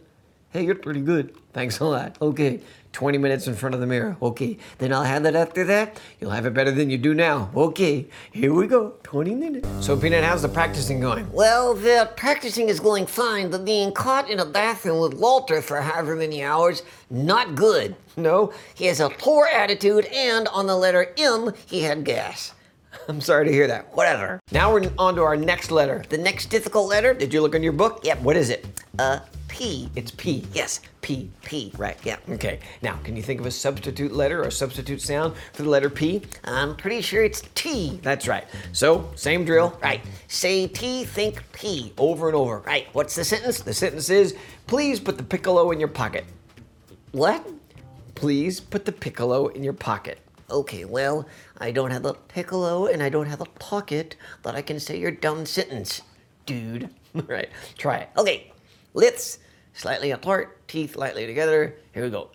[SPEAKER 25] Hey, you're pretty good. Thanks a lot. Okay, 20 minutes in front of the mirror. Okay, then I'll have that after that. You'll have it better than you do now. Okay, here we go. 20 minutes. So, Peanut, how's the practicing going?
[SPEAKER 6] Well, the practicing is going fine, but being caught in a bathroom with Walter for however many hours, not good. No, he has a poor attitude, and on the letter M, he had gas.
[SPEAKER 25] I'm sorry to hear that. Whatever. Now we're on to our next letter. The next difficult letter? Did you look in your book? Yep. What is it? Uh, P. It's P. Yes. P. P. Right. Yeah. Okay. Now, can you think of a substitute letter or a substitute sound for the letter P? I'm pretty sure it's T. That's right. So, same drill. Right. Say T, think P. Over and over. Right. What's the sentence? The sentence is, please put the piccolo in your pocket. What? Please put the piccolo in your pocket.
[SPEAKER 6] Okay, well, I don't have a piccolo and I don't have a pocket, but I can say your dumb sentence, dude.
[SPEAKER 25] right. Try it.
[SPEAKER 6] Okay, lips slightly apart, teeth lightly together. Here we go.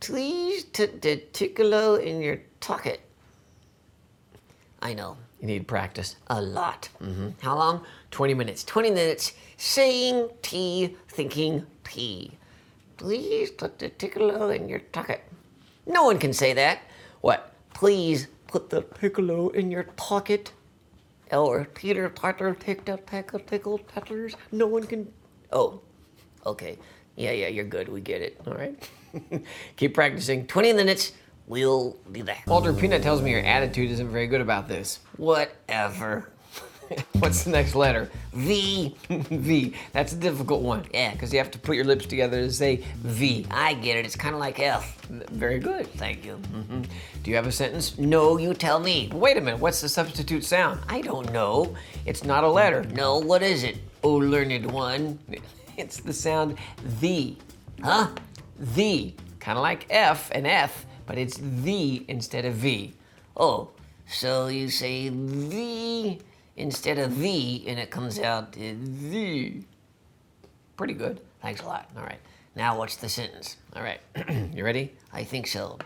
[SPEAKER 6] Please put the piccolo in your pocket. I know,
[SPEAKER 25] You need practice.
[SPEAKER 6] a lot. Mm-hmm. How long?
[SPEAKER 25] 20 minutes.
[SPEAKER 6] 20 minutes saying T, thinking P. Please put the piccolo in your pocket. No one can say that. What? Please put the piccolo in your pocket. Or Peter Potter picked a pack of pickled peppers. No one can. Oh, okay. Yeah, yeah, you're good. We get it. All right.
[SPEAKER 25] Keep practicing.
[SPEAKER 6] 20 minutes. We'll be back.
[SPEAKER 25] Walter Peanut tells me your attitude isn't very good about this.
[SPEAKER 6] Whatever.
[SPEAKER 25] What's the next letter? V. v. That's a difficult one. Yeah, because you have to put your lips together to say V.
[SPEAKER 6] I get it. It's kind of like F.
[SPEAKER 25] Very good.
[SPEAKER 6] Thank you.
[SPEAKER 25] hmm Do you have a sentence? No, you tell me. Wait a minute. What's the substitute sound? I don't know. It's not a letter.
[SPEAKER 6] No, what is it?
[SPEAKER 25] Oh, learned one. It's the sound the.
[SPEAKER 6] Huh?
[SPEAKER 25] The. Kind of like F and F, but it's the instead of V.
[SPEAKER 6] Oh, so you say the instead of the, and it comes out uh, the.
[SPEAKER 25] Pretty good.
[SPEAKER 6] Thanks a lot. All right. Now what's the sentence?
[SPEAKER 25] All right. you ready?
[SPEAKER 6] I think so.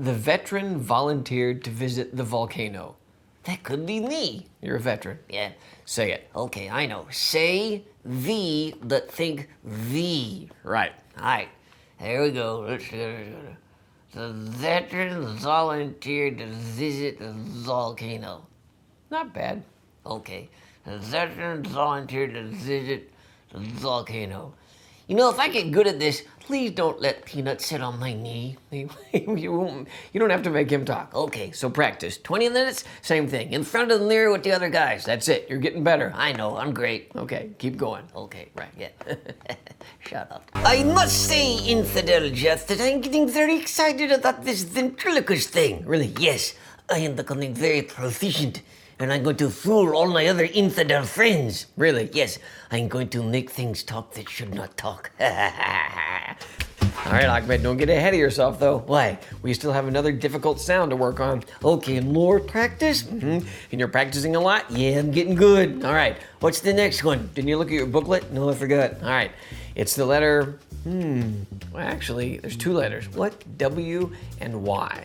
[SPEAKER 25] The veteran volunteered to visit the volcano.
[SPEAKER 6] That could be me.
[SPEAKER 25] You're a veteran.
[SPEAKER 6] Yeah.
[SPEAKER 25] Say it.
[SPEAKER 6] Okay, I know. Say the, but think the.
[SPEAKER 25] Right.
[SPEAKER 6] All right. Here we go. Let's get it. The veteran volunteered to visit the volcano.
[SPEAKER 25] Not bad.
[SPEAKER 6] Okay. The veteran volunteered to visit the volcano. You know, if I get good at this, please don't let Peanut sit on my knee.
[SPEAKER 25] you, won't, you don't have to make him talk.
[SPEAKER 6] Okay,
[SPEAKER 25] So practice.
[SPEAKER 6] 20 minutes, same thing. In front of the mirror with the other guys.
[SPEAKER 25] That's it. You're getting better.
[SPEAKER 6] I know, I'm great.
[SPEAKER 25] Okay, keep going.
[SPEAKER 6] Okay,
[SPEAKER 25] Right.
[SPEAKER 6] yeah. Shut up. I must say, Infidel Jeff, that I'm getting very excited about this ventriloquist thing. Really, yes. I am becoming very proficient, and I'm going to fool all my other infidel friends. Really, yes. I'm going to make things talk that should not talk. Mm-hmm.
[SPEAKER 25] All right, Ahmed, don't get ahead of yourself, though. Why? We still have another difficult sound to work on. Okay, more practice? hmm And you're practicing a lot? Yeah, I'm getting good. All right, what's the next one? Didn't you look at your booklet? No, I forgot. All right, it's the letter, hmm, well, actually, there's two letters. What? W and Y.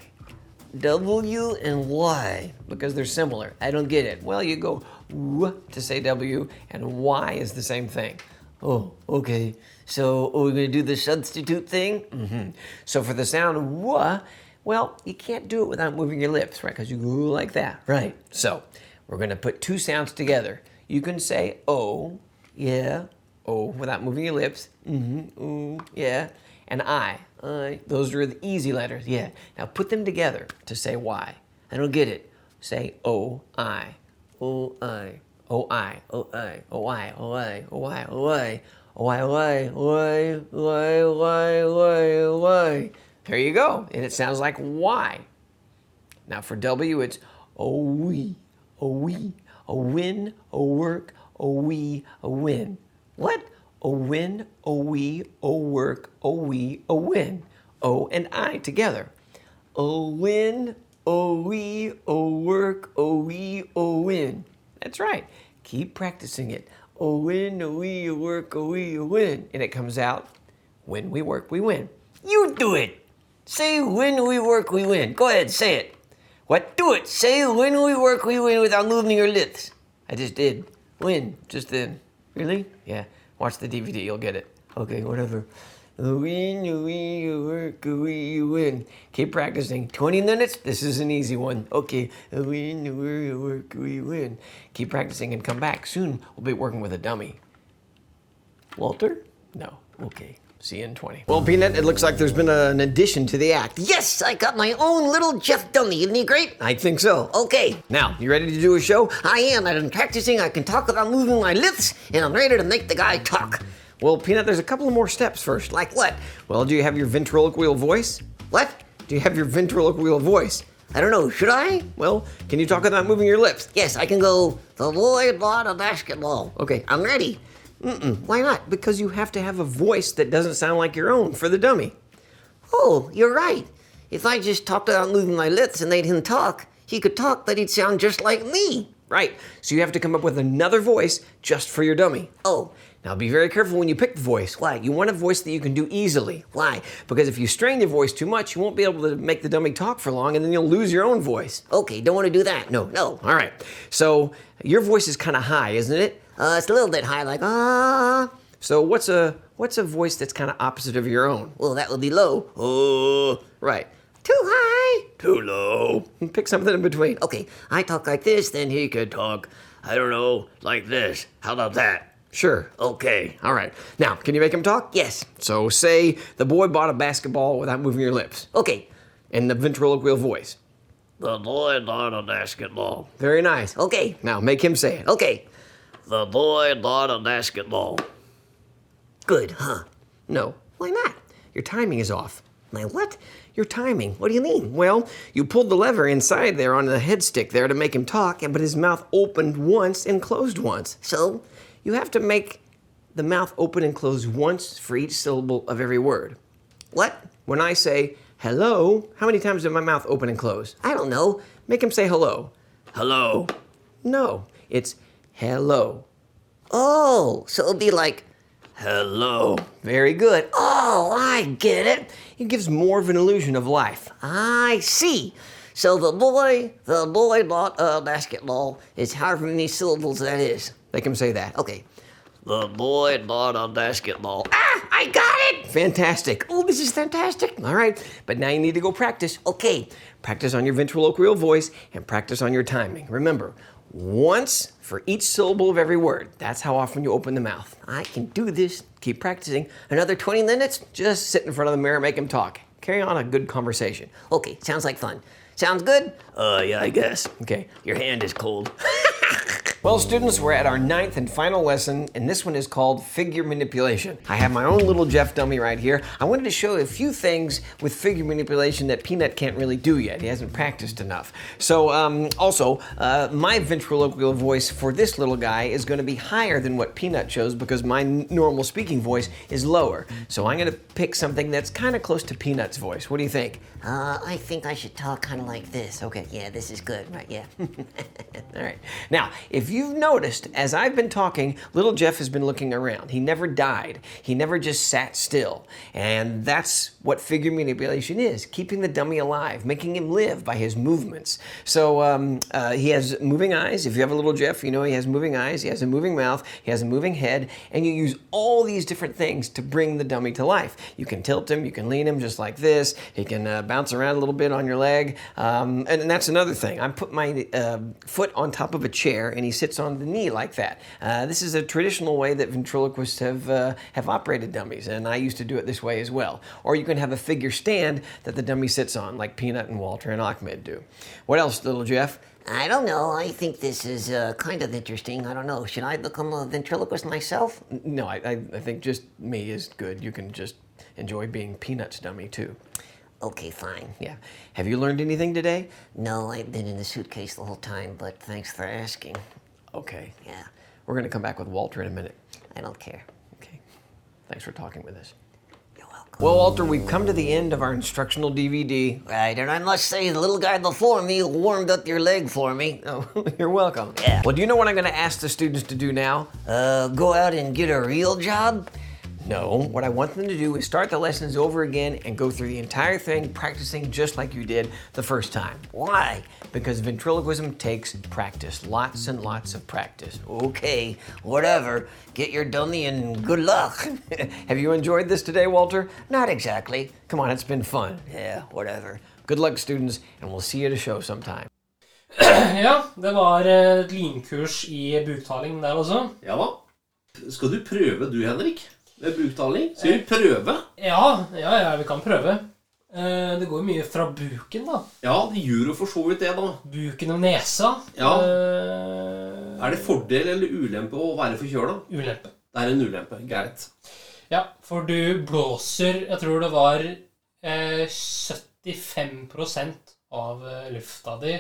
[SPEAKER 25] W and Y. Because they're similar. I don't get it. Well, you go W to say W, and Y is the same thing.
[SPEAKER 6] oh, okay. So, are we going to do the substitute thing?
[SPEAKER 25] hmm So for the sound wa, well, you can't do it without moving your lips, right? Because you go like that, right? So we're gonna put two sounds together. You can say oh, yeah, oh, without moving your lips. Mm-hmm, ooh, yeah, and I, I. Those are the easy letters. Yeah. Now put them together to say why. I don't get it. Say oh, I, oh, I, oh, I, oh, I, oh, I, oh, I, oh, I, oh, I. Why, why, why, why, why, why, why? There you go. And it sounds like why. Now for W, it's a we, a we, a win, a work, a we, a win. What? A win, a we, a work, a we, a win. O and I together. A win, a we, a work, a we, a win. That's right. Keep practicing it. Oh, when oh, we you work, oh, we you win. And it comes out, when we work, we win. You do it. Say when we work, we win. Go ahead, say it. What? Do it. Say when we work, we win without moving your lips. I just did. Win. Just then. Really? Yeah. Watch the DVD. You'll get it. Okay, whatever. Win, win, work, we win. Keep practicing. 20 minutes. This is an easy one. Okay. Win, win, work, we win. Keep practicing and come back. Soon we'll be working with a dummy. Walter? No. Okay. See you in 20. Well, Peanut, it looks like there's been an addition to the act.
[SPEAKER 6] Yes, I got my own little Jeff Dummy. Isn't he great?
[SPEAKER 25] I think so.
[SPEAKER 6] Okay,
[SPEAKER 25] Now, you ready to do a show?
[SPEAKER 6] I am. I've been practicing. I can talk without moving my lips, and I'm ready to make the guy talk.
[SPEAKER 25] Well, Peanut, there's a couple more steps first.
[SPEAKER 6] Like what?
[SPEAKER 25] Well, do you have your ventriloquial voice? What? Do you have your ventriloquial voice?
[SPEAKER 6] I don't know. Should I?
[SPEAKER 25] Well, can you talk without moving your lips?
[SPEAKER 6] Yes, I can go. The boy bought a basketball.
[SPEAKER 25] Okay.
[SPEAKER 6] I'm ready. Mm.
[SPEAKER 25] Mm-mm. Why not? Because you have to have a voice that doesn't sound like your own for the dummy.
[SPEAKER 6] Oh, you're right. If I just talked without moving my lips and they didn't talk, he could talk, but he'd sound just like me.
[SPEAKER 25] Right. So you have to come up with another voice just for your dummy.
[SPEAKER 6] Oh,
[SPEAKER 25] Now be very careful when you pick the voice. Why? You want a voice that you can do easily. Why? Because if you strain your voice too much, you won't be able to make the dummy talk for long and then you'll lose your own voice.
[SPEAKER 6] okay. Don't want to do that.
[SPEAKER 25] No,
[SPEAKER 6] no.
[SPEAKER 25] All right. So your voice is kind of high, isn't it?
[SPEAKER 6] Uh, it's a little bit high, like ah.
[SPEAKER 25] So what's a what's a voice that's kind of opposite of your own?
[SPEAKER 6] Well, that would be low.
[SPEAKER 25] Oh, right.
[SPEAKER 6] Too high.
[SPEAKER 25] Too low. Pick something in between.
[SPEAKER 6] Okay, I talk like this, then he could talk.
[SPEAKER 25] I don't know, like this. How about that? Sure. Okay. All right. Now, can you make him talk?
[SPEAKER 6] Yes.
[SPEAKER 25] So say the boy bought a basketball without moving your lips
[SPEAKER 6] Okay.
[SPEAKER 25] in the ventriloquial voice.
[SPEAKER 6] The boy not a basketball.
[SPEAKER 25] Very nice.
[SPEAKER 6] Okay.
[SPEAKER 25] Now make him say it.
[SPEAKER 6] Okay.
[SPEAKER 25] The boy bought a basketball.
[SPEAKER 6] Good, huh?
[SPEAKER 25] No. Why not? Your timing is off.
[SPEAKER 6] My what?
[SPEAKER 25] Your timing. What do you mean? Well, you pulled the lever inside there on the head stick there to make him talk, and but his mouth opened once and closed once.
[SPEAKER 6] So,
[SPEAKER 25] You have to make the mouth open and close once for each syllable of every word.
[SPEAKER 6] what?
[SPEAKER 25] When I say hello, how many times did my mouth open and close?
[SPEAKER 6] I don't know.
[SPEAKER 25] Make him say hello. Hello. No, it's hello.
[SPEAKER 6] Oh, so it'd be like,
[SPEAKER 25] Hello. Very good.
[SPEAKER 6] oh, I get it.
[SPEAKER 25] It gives more of an illusion of life.
[SPEAKER 6] I see. So the boy, the boy bought a basketball. It's however many syllables that is.
[SPEAKER 25] Make him say that.
[SPEAKER 6] Okay.
[SPEAKER 25] The boy bought a basketball.
[SPEAKER 6] Ah, I got it.
[SPEAKER 25] Fantastic. Oh, this is fantastic. All right, but now you need to go practice. Okay, practice on your ventriloquial voice and practice on your timing. Remember, once for each syllable of every word. That's how often you open the mouth. I can do this. Keep practicing. Another 20 minutes, just sit in front of the mirror, make him talk. Carry on a good conversation.
[SPEAKER 6] Okay, sounds like fun. Sounds good?
[SPEAKER 25] Uh, yeah, I guess. Okay, your hand is cold. Well, students, we're at our ninth and final lesson, and this one is called figure manipulation. I have my own little Jeff dummy right here. I wanted to show a few things with figure manipulation that Peanut can't really do yet. He hasn't practiced enough. So, um, also, uh, my ventriloquial voice for this little guy is going to be higher than what Peanut chose because my n- normal speaking voice is lower. So, I'm going to pick something that's kind of close to Peanut's voice. What do you think?
[SPEAKER 6] Uh, I think I should talk kind of like this. Okay, yeah, this is good, right? Yeah.
[SPEAKER 25] All right. Now, if you've noticed, as I've been talking, little Jeff has been looking around. He never died. He never just sat still. And that's what figure manipulation is keeping the dummy alive, making him live by his movements. So um, uh, he has moving eyes. If you have a little Jeff, you know he has moving eyes, he has a moving mouth, he has a moving head, and you use all these different things to bring the dummy to life. You can tilt him, you can lean him just like this, he can uh, bounce around a little bit on your leg. Um, and, and that's another thing. I put my uh, foot on top of a chair and he sits on the knee like that. Uh, this is a traditional way that ventriloquists have, uh, have operated dummies, and I used to do it this way as well. Or you can have a figure stand that the dummy sits on, like Peanut and Walter and Ahmed do. What else, little Jeff?
[SPEAKER 6] I don't know. I think this is uh, kind of interesting. I don't know. Should I become a ventriloquist myself?
[SPEAKER 25] N- No, I, I, I think just me is good. You can just enjoy being Peanut's dummy too.
[SPEAKER 6] Okay, fine.
[SPEAKER 25] Yeah. Have you learned anything today?
[SPEAKER 6] No, I've been in the suitcase the whole time, but thanks for asking.
[SPEAKER 25] Okay.
[SPEAKER 6] Yeah,
[SPEAKER 25] We're going to come back with Walter in a minute.
[SPEAKER 6] I don't care.
[SPEAKER 25] Okay. Thanks for talking with us.
[SPEAKER 6] You're welcome.
[SPEAKER 25] Well, Walter, we've come to the end of our instructional DVD.
[SPEAKER 26] Right, and I must say, the little guy before me warmed up your leg for me.
[SPEAKER 25] Oh, you're welcome. Yeah. Well, do you know what I'm going to ask the students to do now?
[SPEAKER 26] Uh, go out and get a real job?
[SPEAKER 25] No. What I want them to do is start the lessons over again and go through the entire thing, practicing just like you did the first time.
[SPEAKER 26] Why?
[SPEAKER 25] Because ventriloquism takes practice, lots and lots of practice.
[SPEAKER 26] Okay, whatever. Get your dummy and good luck.
[SPEAKER 25] Have you enjoyed this today, Walter?
[SPEAKER 26] Not exactly.
[SPEAKER 25] Come on, it's been fun.
[SPEAKER 26] Yeah, whatever.
[SPEAKER 25] Good luck, students, and we'll see you at a show sometime.
[SPEAKER 1] Ja, det var eh, et lynkurs i buktaling der også.
[SPEAKER 4] Ja da. Skal du prøve du, Henrik? Med bruktaling? Skal vi prøve?
[SPEAKER 1] Ja, ja, ja, vi kan prøve. Eh, Det går jo mye fra buken, da.
[SPEAKER 4] Ja, det gjør jo for så vidt det, da.
[SPEAKER 1] Buken og nesa.
[SPEAKER 4] Ja.
[SPEAKER 1] Eh,
[SPEAKER 4] Er det fordel eller ulempe å være forkjøla?
[SPEAKER 1] Ulempe.
[SPEAKER 4] Det er en ulempe. Greit.
[SPEAKER 1] Ja, for du blåser Jeg tror det var eh, 75 av eh, lufta di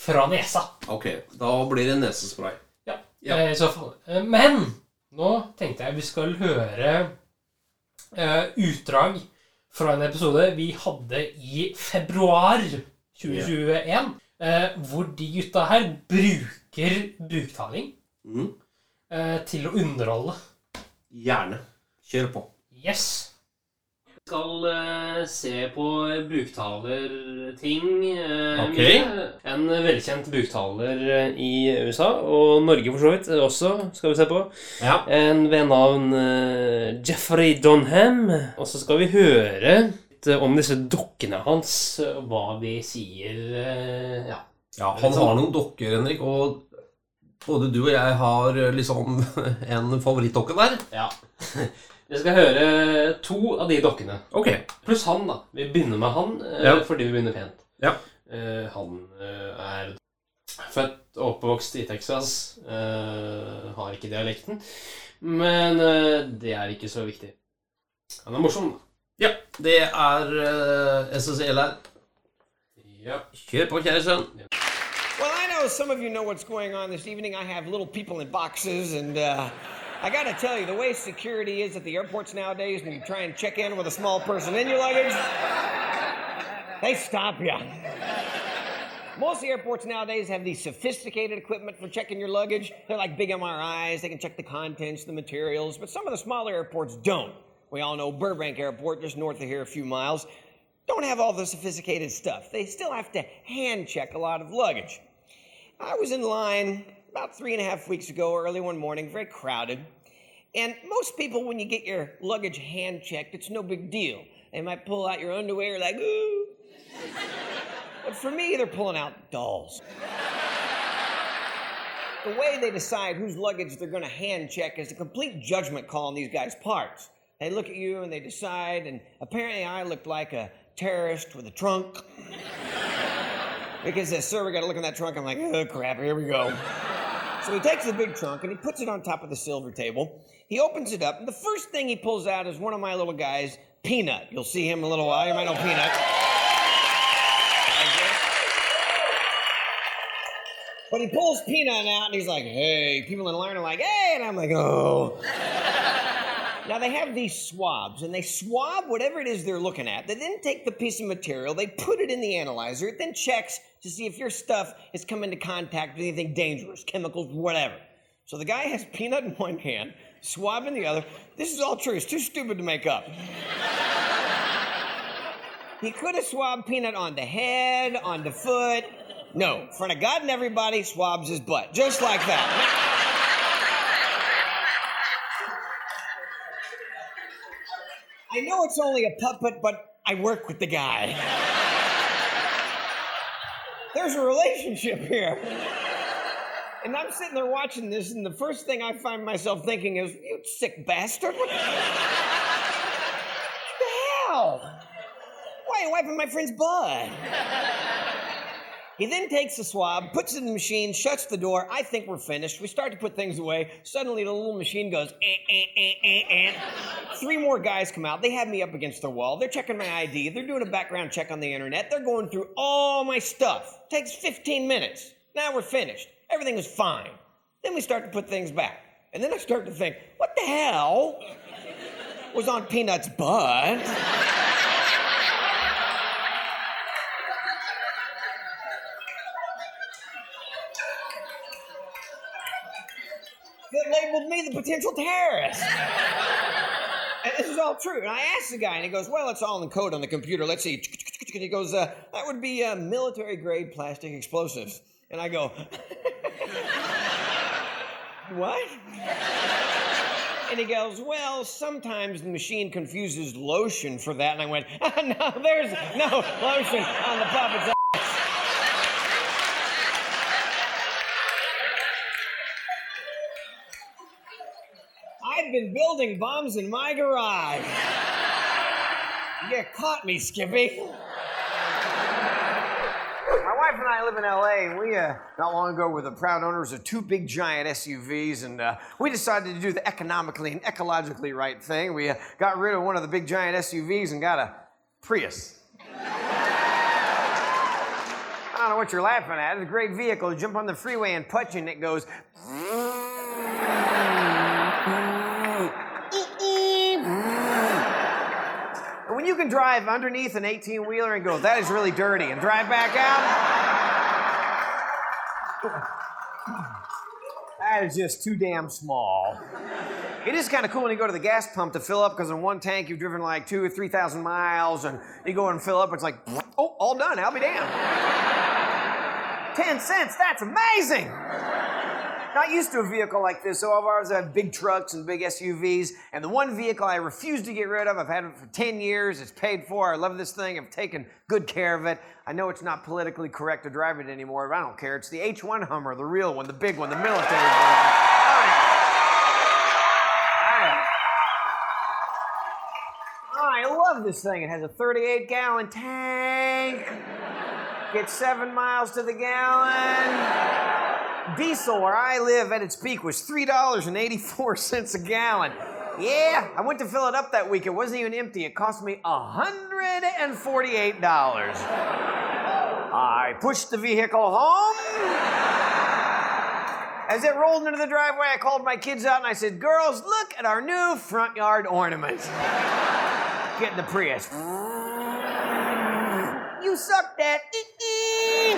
[SPEAKER 1] fra nesa.
[SPEAKER 4] Ok, da blir det nesespray.
[SPEAKER 1] Ja,
[SPEAKER 4] Ja.
[SPEAKER 1] eh, i så fall. Eh, Men nå tenkte jeg vi skal høre eh, utdrag fra en episode vi hadde i februar 2021, eh, hvor de gutta her bruker buktaling
[SPEAKER 4] Mm.
[SPEAKER 1] eh, til å underholde.
[SPEAKER 4] Gjerne. Kjør på.
[SPEAKER 1] Yes! Vi skal eh, se på buktalerting. eh,
[SPEAKER 4] Ok.
[SPEAKER 1] mye. En velkjent buktaler eh, i USA, og Norge for så vidt eh, også, skal vi se på. En ved navn eh, Jeffrey Donham. Og så skal vi høre litt eh, om disse dukkene hans, eh, hva de sier eh, Ja.
[SPEAKER 4] Ja, han har noen dokker, Henrik, og både du og jeg har eh, liksom en favorittdokke der.
[SPEAKER 1] Ja. Vi skal høre to av de dokkene.
[SPEAKER 4] Ok.
[SPEAKER 1] Pluss han, da. Vi begynner med han eh,
[SPEAKER 4] Ja.
[SPEAKER 1] fordi vi begynner pent.
[SPEAKER 4] Ja.
[SPEAKER 1] Eh, han eh, er født og oppvokst i Texas. eh, har ikke dialekten. Men eh, det er ikke så viktig. Han er morsom, da.
[SPEAKER 4] Ja, det er eh, SSL her. Kjør på, kjære sønn.
[SPEAKER 25] Well, I know some of you know what's going on this evening. I have little people in boxes, and uh, I gotta tell you, the way security is at the airports nowadays, when you try and check in with a small person in your luggage, they stop you. Most of the airports nowadays have these sophisticated equipment for checking your luggage. They're like big MRIs, they can check the contents, the materials, but some of the smaller airports don't. We all know Burbank Airport, just north of here a few miles, don't have all the sophisticated stuff. They still have to hand check a lot of luggage. I was in line about three and a half weeks ago, early one morning, very crowded. And most people, when you get your luggage hand checked, it's no big deal. They might pull out your underwear, like, ooh. but for me, they're pulling out dolls. The way they decide whose luggage they're going to hand check is a complete judgment call on these guys' parts. They look at you and they decide, and apparently I looked like a terrorist with a trunk. because, uh, sir, we got to look in that trunk. I'm like, oh, crap, here we go. so he takes the big trunk and he puts it on top of the silver table. He opens it up, and the first thing he pulls out is one of my little guys, Peanut. You'll see him in a little while. You might know Peanut. But he pulls Peanut out and he's like, hey, people in line are like, hey, and I'm like, oh. now they have these swabs and they swab whatever it is they're looking at. They then take the piece of material, they put it in the analyzer, it then checks to see if your stuff has come into contact with anything dangerous, chemicals, whatever. So the guy has peanut in one hand, swab in the other. This is all true. It's too stupid to make up. He could have swabbed Peanut on the head, on the foot. No, in front of God and everybody, swabs his butt, just like that. I know it's only a puppet, but I work with the guy. There's a relationship here. And I'm sitting there watching this, and the first thing I find myself thinking is, you sick bastard. What the hell? Why are you wiping my friend's butt? he then takes the swab, puts it in the machine, shuts the door. I think we're finished. We start to put things away. Suddenly, the little machine goes, eh, eh, eh, eh, eh. Three more guys come out. They have me up against the wall. They're checking my ID. They're doing a background check on the internet. They're going through all my stuff. Takes 15 minutes. Now we're finished. Everything was fine. Then we start to put things back. And then I start to think, what the hell? was on Peanut's butt. that labeled me the potential terrorist. And this is all true. And I asked the guy, and he goes, Well, it's all in the code on the computer. Let's see. And he goes, uh, That would be uh, military grade plastic explosives. And I go, What? And he goes, Well, sometimes the machine confuses lotion for that. And I went, No, there's no lotion on the puppet's ass. I've been building bombs in my garage. You caught me, Skippy. My wife and I live in LA, and we uh, not long ago were the proud owners of two big giant SUVs, and uh, we decided to do the economically and ecologically right thing. We uh, got rid of one of the big giant SUVs and got a Prius. I don't know what you're laughing at. It's a great vehicle. You jump on the freeway and punch, and it goes. And when you can drive underneath an 18 wheeler and go, that is really dirty, and drive back out, that is just too damn small. It is kind of cool when you go to the gas pump to fill up because in one tank you've driven like two or 3,000 miles, and you go and fill up, it's like, oh, all done, I'll be damned. 10 cents, that's amazing! Not used to a vehicle like this, so all of ours have big trucks and big SUVs. And the one vehicle I refuse to get rid of, I've had it for 10 years, it's paid for, I love this thing, I've taken good care of it. I know it's not politically correct to drive it anymore, but I don't care. It's the H1 Hummer, the real one, the big one, the military one. All right. All right. All right, I love this thing. It has a 38 gallon tank. Gets seven miles to the gallon. Diesel, where I live at its peak, was $3.84 a gallon. Yeah, I went to fill it up that week. It wasn't even empty. It cost me $148. I pushed the vehicle home. As it rolled into the driveway, I called my kids out and I said, Girls, look at our new front yard ornament. Get in the Prius. You suck, Dad. Ee-ee.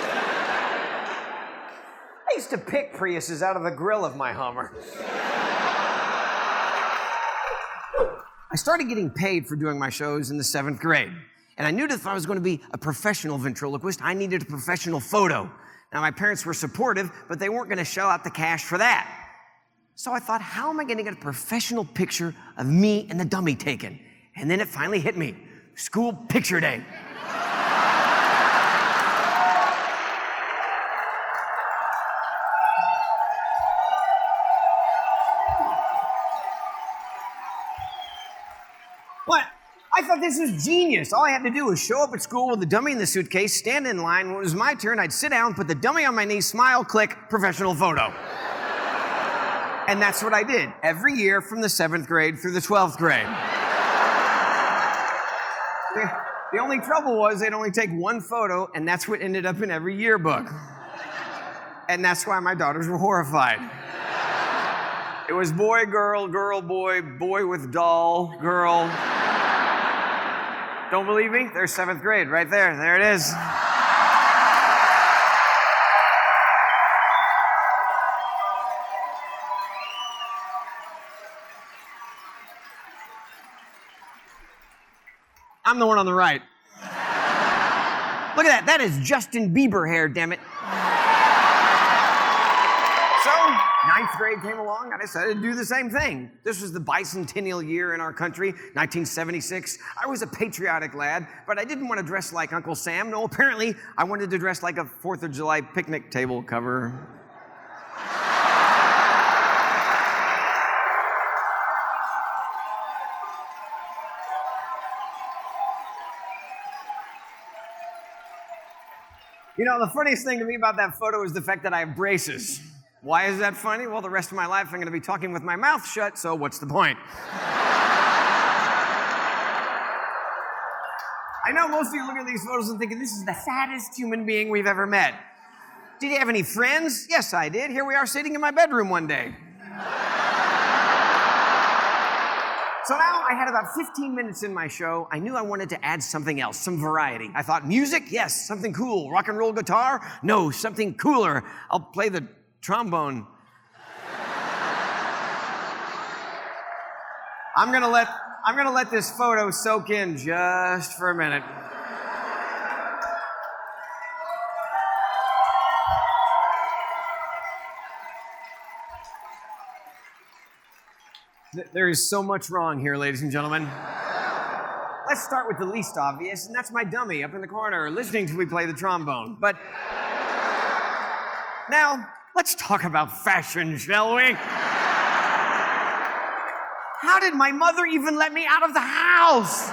[SPEAKER 25] I used to pick Priuses out of the grill of my Hummer. I started getting paid for doing my shows in the seventh grade. And I knew that if I was going to be a professional ventriloquist, I needed a professional photo. Now, my parents were supportive, but they weren't going to shell out the cash for that. So I thought, how am I going to get a professional picture of me and the dummy taken? And then it finally hit me school picture day. What? I thought this was genius. All I had to do was show up at school with the dummy in the suitcase, stand in line. When it was my turn, I'd sit down, put the dummy on my knee, smile, click, professional photo. and that's what I did every year from the seventh grade through the 12th grade. the, the only trouble was they'd only take one photo, and that's what ended up in every yearbook. and that's why my daughters were horrified. It was boy, girl, girl, boy, boy with doll, girl. Don't believe me? There's seventh grade right there. There it is. I'm the one on the right. Look at that. That is Justin Bieber hair, damn it. So, ninth grade came along, and I decided to do the same thing. This was the bicentennial year in our country, 1976. I was a patriotic lad, but I didn't want to dress like Uncle Sam. No, apparently, I wanted to dress like a Fourth of July picnic table cover. You know, the funniest thing to me about that photo is the fact that I have braces. Why is that funny? Well, the rest of my life I'm going to be talking with my mouth shut, so what's the point? I know most of you look at these photos and thinking, this is the saddest human being we've ever met. Did you have any friends? Yes, I did. Here we are sitting in my bedroom one day. So now I had about 15 minutes in my show. I knew I wanted to add something else, some variety. I thought music, yes, something cool. Rock and roll guitar, no, something cooler. I'll play the trombone. I'm gonna let I'm gonna let this photo soak in just for a minute. Th- There is so much wrong here, ladies and gentlemen. Let's start with the least obvious, and that's my dummy up in the corner listening to me play the trombone. But now, let's talk about fashion, shall we? How did my mother even let me out of the house?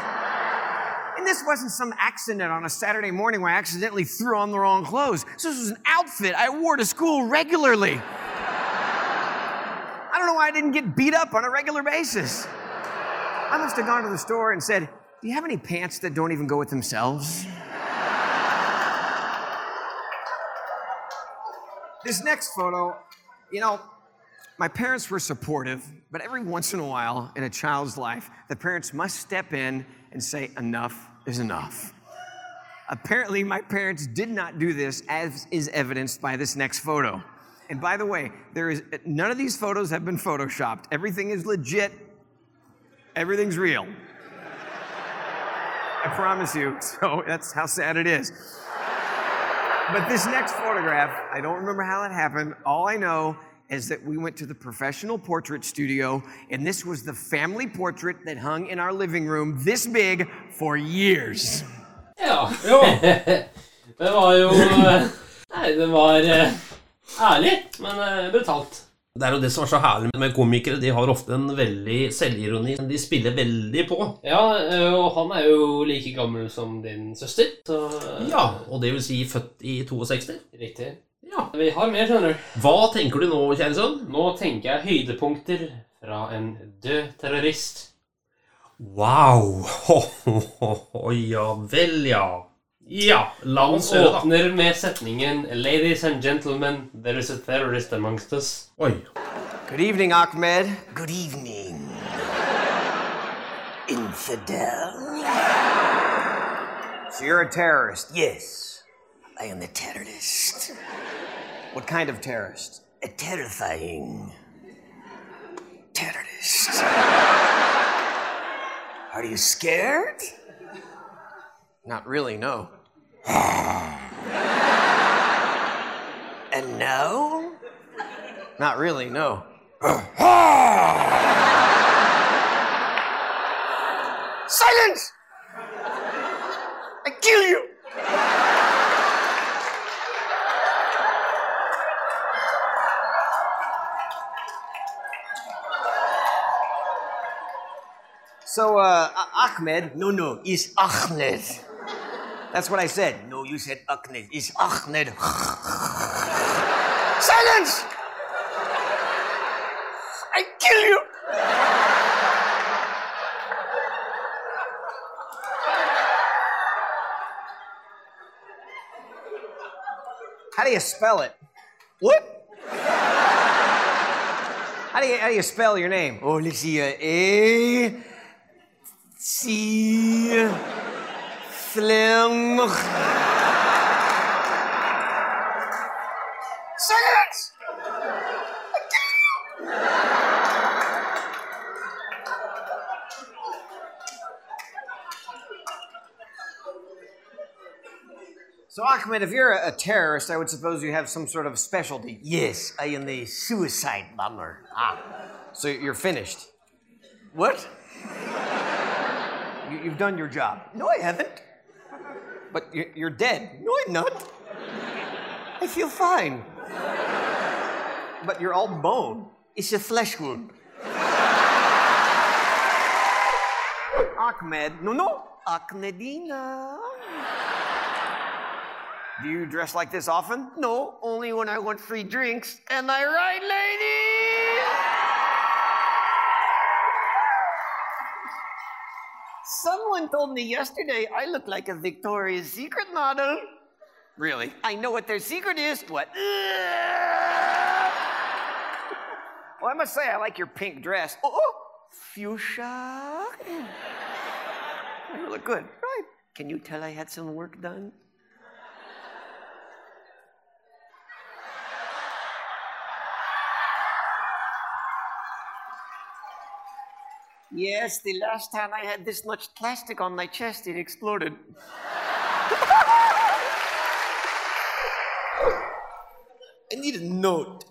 [SPEAKER 25] And this wasn't some accident on a Saturday morning where I accidentally threw on the wrong clothes. This was an outfit I wore to school regularly. I don't know why I didn't get beat up on a regular basis. I must have gone to the store and said, Do you have any pants that don't even go with themselves? this next photo, you know, my parents were supportive, but every once in a while in a child's life, the parents must step in and say, Enough is enough. Apparently, my parents did not do this, as is evidenced by this next photo. And by the way, there is none of these photos have been photoshopped. Everything is legit. Everything's real. I promise you. So that's how sad it is. But this next photograph, I don't remember how it happened. All I know is that we went to the professional portrait studio, and this was the family portrait that hung in our living room this big for years.
[SPEAKER 3] Ja. Jo. Det var jo eh, Nei, det var eh,
[SPEAKER 14] 啊
[SPEAKER 3] ærlig, men eh, brutalt.
[SPEAKER 1] Det er jo det som er så herlig med komikere. De har ofte en veldig selvironi. De spiller veldig på.
[SPEAKER 3] Ja, eh, og han er jo like gammel som din søster. Så eh,
[SPEAKER 1] Ja, og det vil si født i 62.
[SPEAKER 3] Riktig. Ja. Vi har mer, skjønner du.
[SPEAKER 1] Hva tenker du nå, kjære sønn?
[SPEAKER 3] Nå tenker jeg høydepunkter fra en død terrorist.
[SPEAKER 1] Wow! Ho, ho, ho, ho. Ja vel, ja. Ja, la
[SPEAKER 3] Han
[SPEAKER 1] oss høre, da.
[SPEAKER 3] åpner med setningen 'Ladies and gentlemen, there is a terrorist amongst us'.
[SPEAKER 1] Oi.
[SPEAKER 25] Good evening, Ahmed. Good evening. Infidel. So you're a terrorist? Yes. I am a terrorist. What kind of terrorist? A terrifying terrorist. Are you scared? Not really, no. and no? Not really, no. Ah! Silence! I kill you! So, uh, Ah- Ahmed. No, no, it's Ahmed. That's what I said. No, you said Ahmed. It's Ahmed. Silence! I kill you! How do you spell it? What? How do you, how do you spell your name? Oh, let's see. Uh, A. C. Slim. Silence! So, Ahmed, if you're a, a terrorist, I would suppose you have some sort of specialty. Yes, I am a suicide bomber. Ah, so you're finished. What? You, you've done your job. No, I haven't. But you're, you're dead. No, I'm not. I feel fine. But you're all bone. It's a flesh wound. Ahmed, no, no. Ahmedina. Do you dress like this often? No, only when I want free drinks. Am I right, ladies? Someone told me yesterday I look like a Victoria's Secret model. Really? I know what their secret is. What? Well, I must say I like your pink dress. Oh, oh.
[SPEAKER 27] fuchsia.
[SPEAKER 25] You look good. Right. Can you tell I had some work done? Yes, the last time I had this much plastic on my chest, it exploded. I need a note.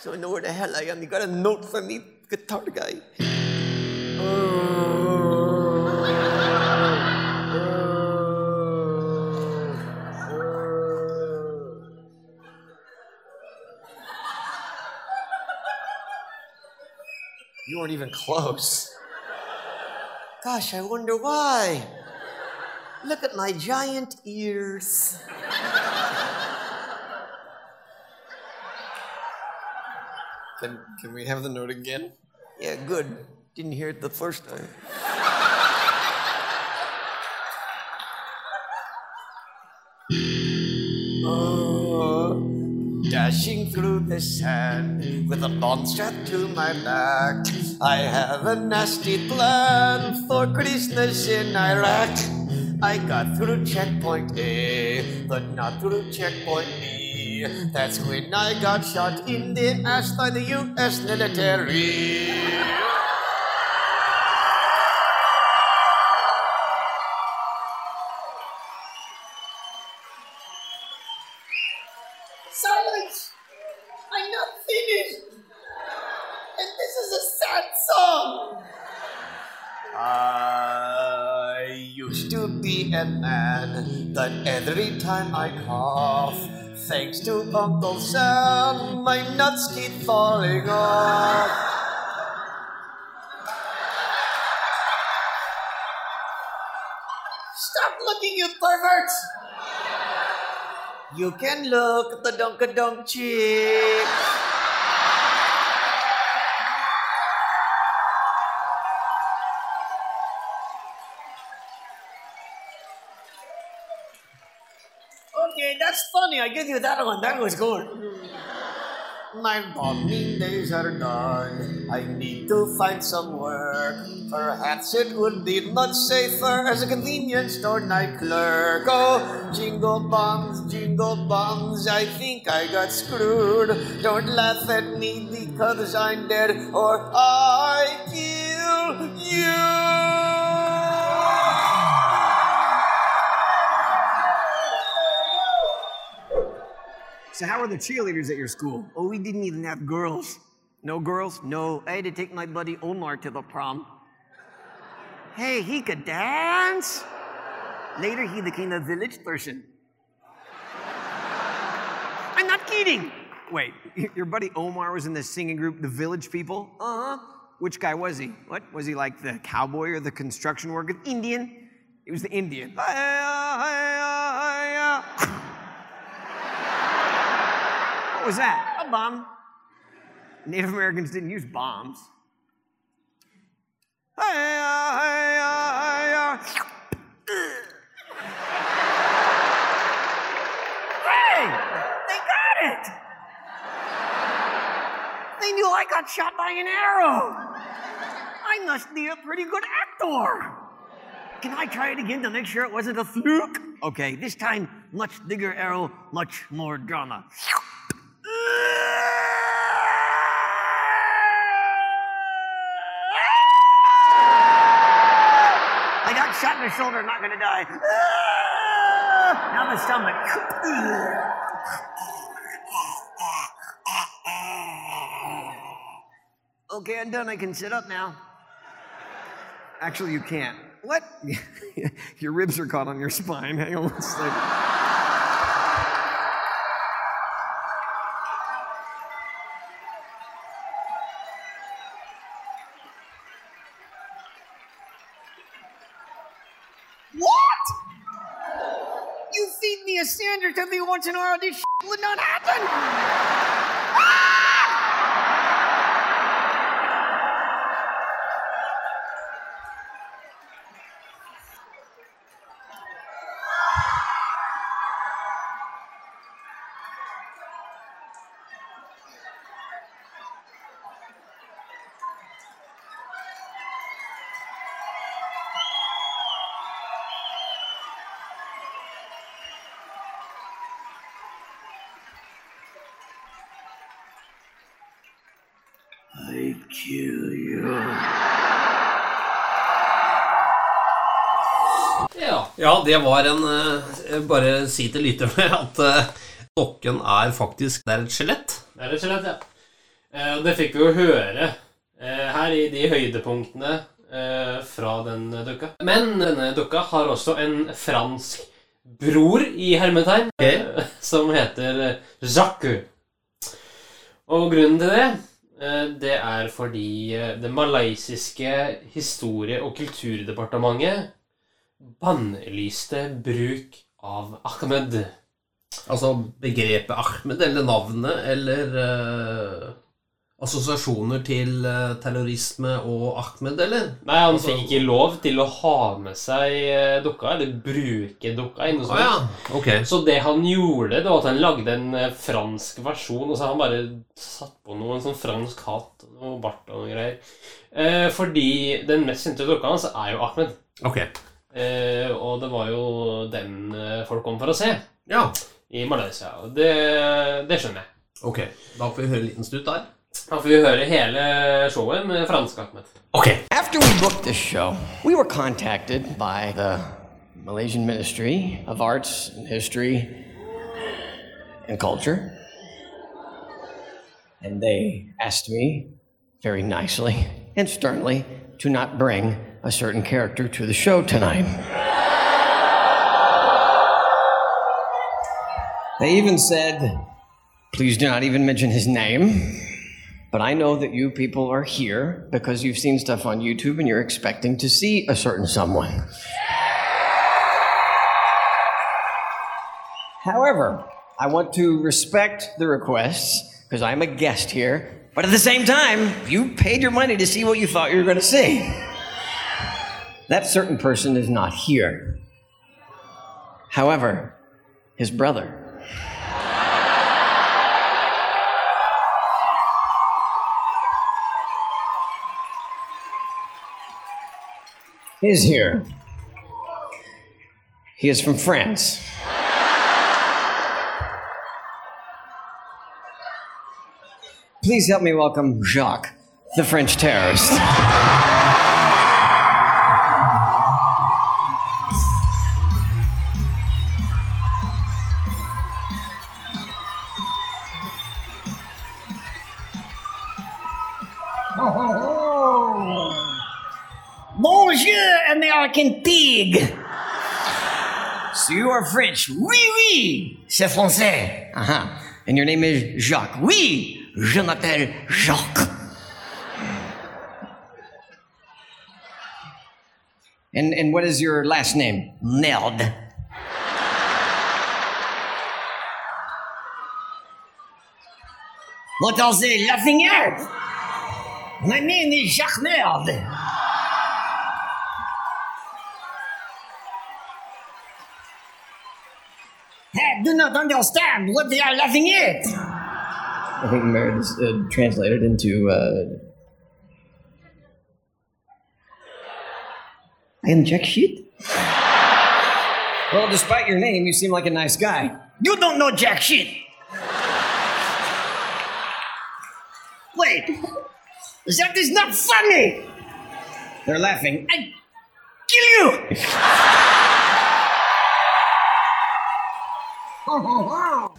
[SPEAKER 25] So I know where the hell I am. You got a note from me, guitar guy. You weren't even close. Gosh, I wonder why. Look at my giant ears.
[SPEAKER 27] Can, can we have the note again? Yeah, good. Didn't hear it the first time.
[SPEAKER 25] Oh, dashing through the sand with a long strap to my back. I have a nasty plan for Christmas in Iraq. I got through checkpoint A, but not through checkpoint B. That's when I got shot in the ass by the U.S. military.
[SPEAKER 6] Silence! I'm not finished! And this is a sad song!
[SPEAKER 25] I used to be a man, but every time I cough, thanks to Uncle Sam, my nuts keep falling off.
[SPEAKER 6] Stop looking, you perverts!
[SPEAKER 25] You can look at the Dunkadunk chicks.
[SPEAKER 6] Okay, that's funny. I give you that one. That was good.
[SPEAKER 25] My bombing days are done. I need to find some work. Perhaps it would be much safer as a convenience store night clerk. Oh, jingle bombs, jingle bombs, I think I got screwed. Don't laugh at me because I'm dead or I kill you.
[SPEAKER 27] So how are the cheerleaders at your school?
[SPEAKER 25] Oh, we didn't even have girls. No girls? No. I had to take my buddy Omar to the prom. Hey, he could dance. Later, he became a village person. I'm not kidding. Wait, y- your buddy Omar was in the singing group The Village People? Uh huh. Which guy was he? What? Was he like the cowboy or the construction worker? Indian? He was the Indian. What was that? A bomb. Native Americans didn't use bombs.
[SPEAKER 6] Hey! They got it! They knew I got shot by an arrow! I must be a pretty good actor!
[SPEAKER 25] Can I try it again to make sure it wasn't a fluke? Okay, this time, much bigger arrow, much more drama.
[SPEAKER 6] I got shot in the shoulder, not gonna die. Now the stomach.
[SPEAKER 25] Okay, I'm done. I can sit up now. Actually, you can't. What? your ribs are caught on your spine. Hang on one second.
[SPEAKER 6] What? You feed me a sandwich every once in a while, this shit would not happen! to kill you.
[SPEAKER 1] Ja.
[SPEAKER 14] Ja, det var en eh, Bare si til lytterne at eh, dokken er faktisk Det er et skjelett.
[SPEAKER 1] Det er et skjelett, ja. Eh, og det fikk vi jo høre eh, her i de høydepunktene eh, fra den dukka. Men denne dukka har også en fransk bror i hermetegn eh, som heter eh, Jacques. Og grunnen til det, eh, det er fordi eh, det malaysiske historie- og kulturdepartementet bannlyste bruk av Ahmed.
[SPEAKER 14] Altså begrepet Ahmed, eller navnet, eller eh, assosiasjoner til eh, terrorisme og Ahmed, eller?
[SPEAKER 1] Nei, han fikk ikke lov til å ha med seg eh, dukka, eller bruke dukka. eller noe
[SPEAKER 14] Å ja,
[SPEAKER 1] sånt.
[SPEAKER 14] ok.
[SPEAKER 1] Så det han gjorde, det var at han lagde en eh, fransk versjon, og så har han bare satt på noe, en sånn fransk hatt og noe bart og noe greier. Eh, fordi den mest kjente dukka hans er jo Ahmed.
[SPEAKER 14] Ok.
[SPEAKER 1] Eh, og det var jo den eh, folk kom for å se
[SPEAKER 14] ja.
[SPEAKER 1] i Malaysia. Og det, det skjønner jeg.
[SPEAKER 14] Ok, da får vi høre en liten snutt der.
[SPEAKER 1] Da får vi høre hele showet med franske Ahmed.
[SPEAKER 25] After we booked this show, we were contacted by the Malaysian Ministry of Arts and History and Culture. And they asked me very nicely and sternly to not bring a certain character to the show tonight. They even said, please do not even mention his name. But I know that you people are here because you've seen stuff on YouTube and you're expecting to see a certain someone. However, I want to respect the requests because I'm a guest here. But at the same time, you paid your money to see what you thought you were going to see. That certain person is not here. However, his brother is here. He is from France. Please help me welcome Jacques, the French terrorist.
[SPEAKER 6] Bonjour, American pig!
[SPEAKER 25] So you are French? Oui, oui! C'est français. Uh huh. And your name is Jacques? Oui! Je m'appelle Jacques. And, and what is your last name? Merde.
[SPEAKER 6] What are they laughing at? My name is Jacques Merde. I do not understand what they are laughing at.
[SPEAKER 25] I think Merde is uh, translated into. Uh... I am Jack Sheet? well, despite your name, you seem like a nice guy.
[SPEAKER 6] You don't know jack shit. Wait, that is not funny.
[SPEAKER 25] They're laughing.
[SPEAKER 6] I kill you.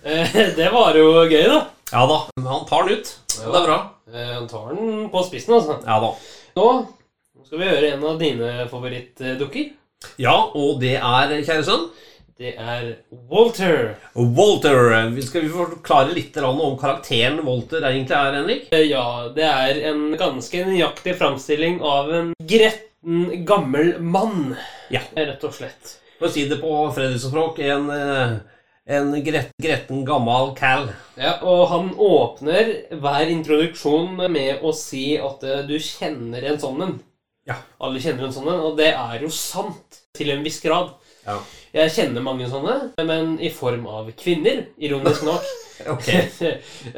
[SPEAKER 1] Eh, Det var jo gøy, da. Eh,
[SPEAKER 14] Ja da. Han tar den ut. Det er bra.
[SPEAKER 1] Han tar den på spissen, altså.
[SPEAKER 14] Ja da.
[SPEAKER 1] Nå skal vi gjøre en av dine favorittdukker.
[SPEAKER 14] Ja, og det er, kjære sønn
[SPEAKER 1] Det er Walter.
[SPEAKER 14] Walter. Vi Skal vi forklare litt grann om karakteren Walter egentlig er, Henrik?
[SPEAKER 1] Eh, Ja, det er en ganske nøyaktig framstilling av en gretten gammel mann. Eh,
[SPEAKER 14] Ja.
[SPEAKER 1] Rett og slett.
[SPEAKER 14] For å si det på Fredriksen-språk en, eh, en gret, gretten gammal cal.
[SPEAKER 1] Ja, og han åpner hver introduksjon med å si at eh, du kjenner en sånn en.
[SPEAKER 14] Ja.
[SPEAKER 1] Alle kjenner en sånn en, og det er jo sant til en viss grad.
[SPEAKER 14] Ja.
[SPEAKER 1] Jeg kjenner mange sånne, men i form av kvinner, ironisk nok.
[SPEAKER 14] ok.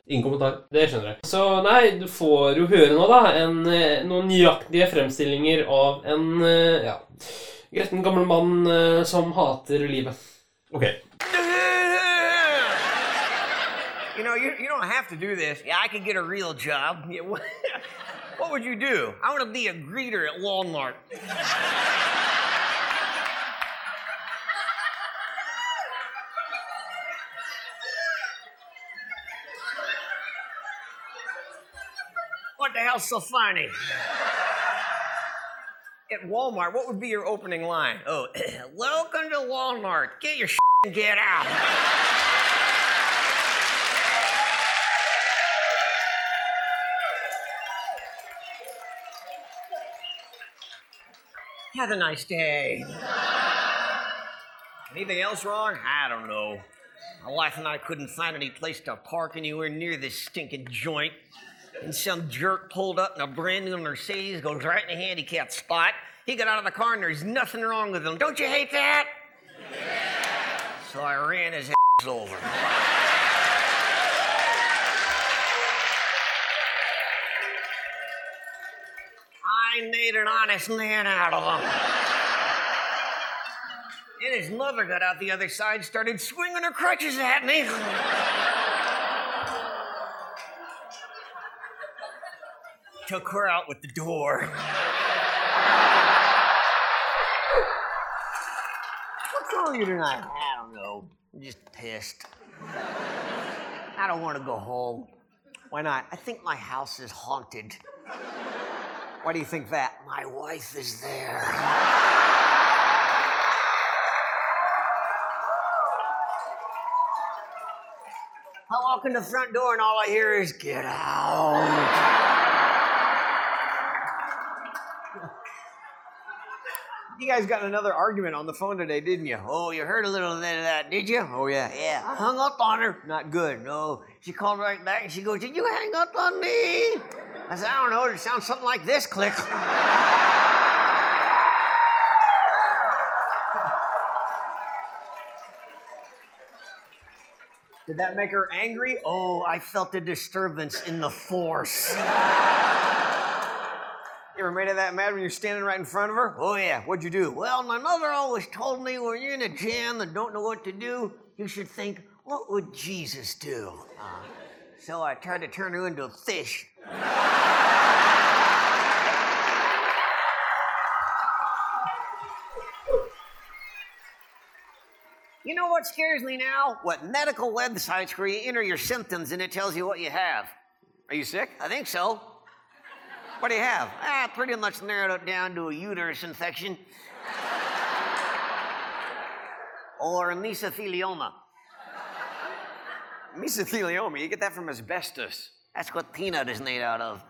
[SPEAKER 14] Ingen kommentar.
[SPEAKER 1] Det skjønner jeg. Så nei, du får jo høre nå, da, en, eh, noen nøyaktige fremstillinger av en eh, ja, gretten gammel mann eh, som hater livet.
[SPEAKER 14] Ok.
[SPEAKER 28] You know, you, you don't have to do this. Yeah, I could get a real job. Yeah, wha-
[SPEAKER 25] What would you do? I want to be a greeter at Walmart. What the hell's so funny? At Walmart, what would be your opening line? Oh, welcome to Walmart. Get your shit and get out. Have a nice day. Anything else wrong? I don't know. My wife and I couldn't find any place to park anywhere near this stinking joint. And some jerk pulled up in a brand new Mercedes, goes right in the handicapped spot. He got out of the car and there's nothing wrong with him. Don't you hate that? So I ran his ass over. I made an honest man out of him. And his mother got out the other side, started swinging her crutches at me. Took her out with the door. What's wrong with you tonight? I don't know. I'm just pissed. I don't want to go home. Why not? I think my house is haunted. Why do you think that? My wife is there. I walk in the front door and all I hear is, get out. you guys got in another argument on the phone today, didn't you? Oh, you heard a little bit of that, did you? Oh, yeah. Yeah. I hung up on her. Not good. No. She called right back and she goes, Did you hang up on me? I said, I don't know. It sounds something like this click. Did that make her angry? Oh, I felt a disturbance in the force. You ever made her that mad when you're standing right in front of her? Oh, yeah. What'd you do? Well, my mother always told me when you're in a jam and don't know what to do, you should think, what would Jesus do? Uh, so I tried to turn her into a fish. You know what scares me now? What medical websites where you enter your symptoms and it tells you what you have. Are you sick? I think so. What do you have? Ah, pretty much narrowed it down to a uterus infection. or mesothelioma. Mesothelioma, you get that from asbestos. That's what peanut is made out of.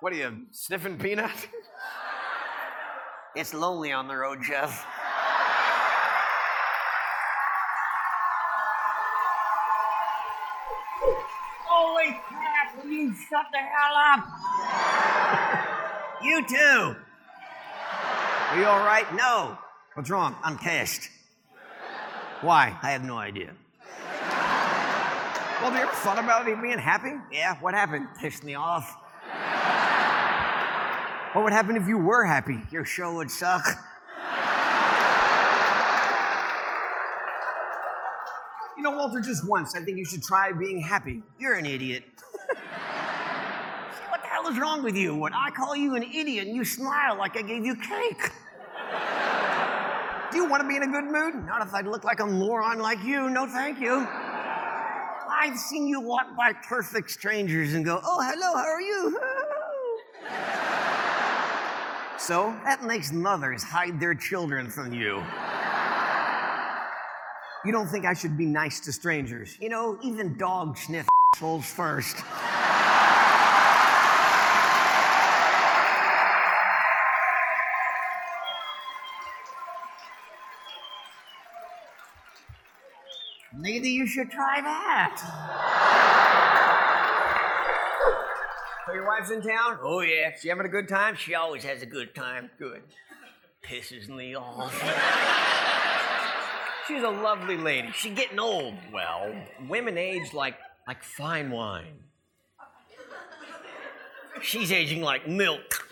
[SPEAKER 25] What are you, sniffing peanut? it's lonely on the road, Jeff. Holy crap, will you shut the hell up? you too. Are you all right? No. What's wrong? I'm pissed. Why? I have no idea. Well, have you ever thought about it being happy? Yeah, what happened? Pissed me off. what would happen if you were happy? Your show would suck. You know, Walter, just once, I think you should try being happy. You're an idiot. See, what the hell is wrong with you? When I call you an idiot and you smile like I gave you cake. Do you want to be in a good mood? Not if I look like a moron like you. No, thank you. I've seen you walk by perfect strangers and go, oh, hello, how are you? so? That makes mothers hide their children from you. You don't think I should be nice to strangers? You know, even dogs sniff assholes first. Maybe you should try that. So your wife's in town? Oh yeah. She having a good time? She always has a good time. Good. Pisses me off. She's a lovely lady. She's getting old. Well, women age like like fine wine. She's aging like milk.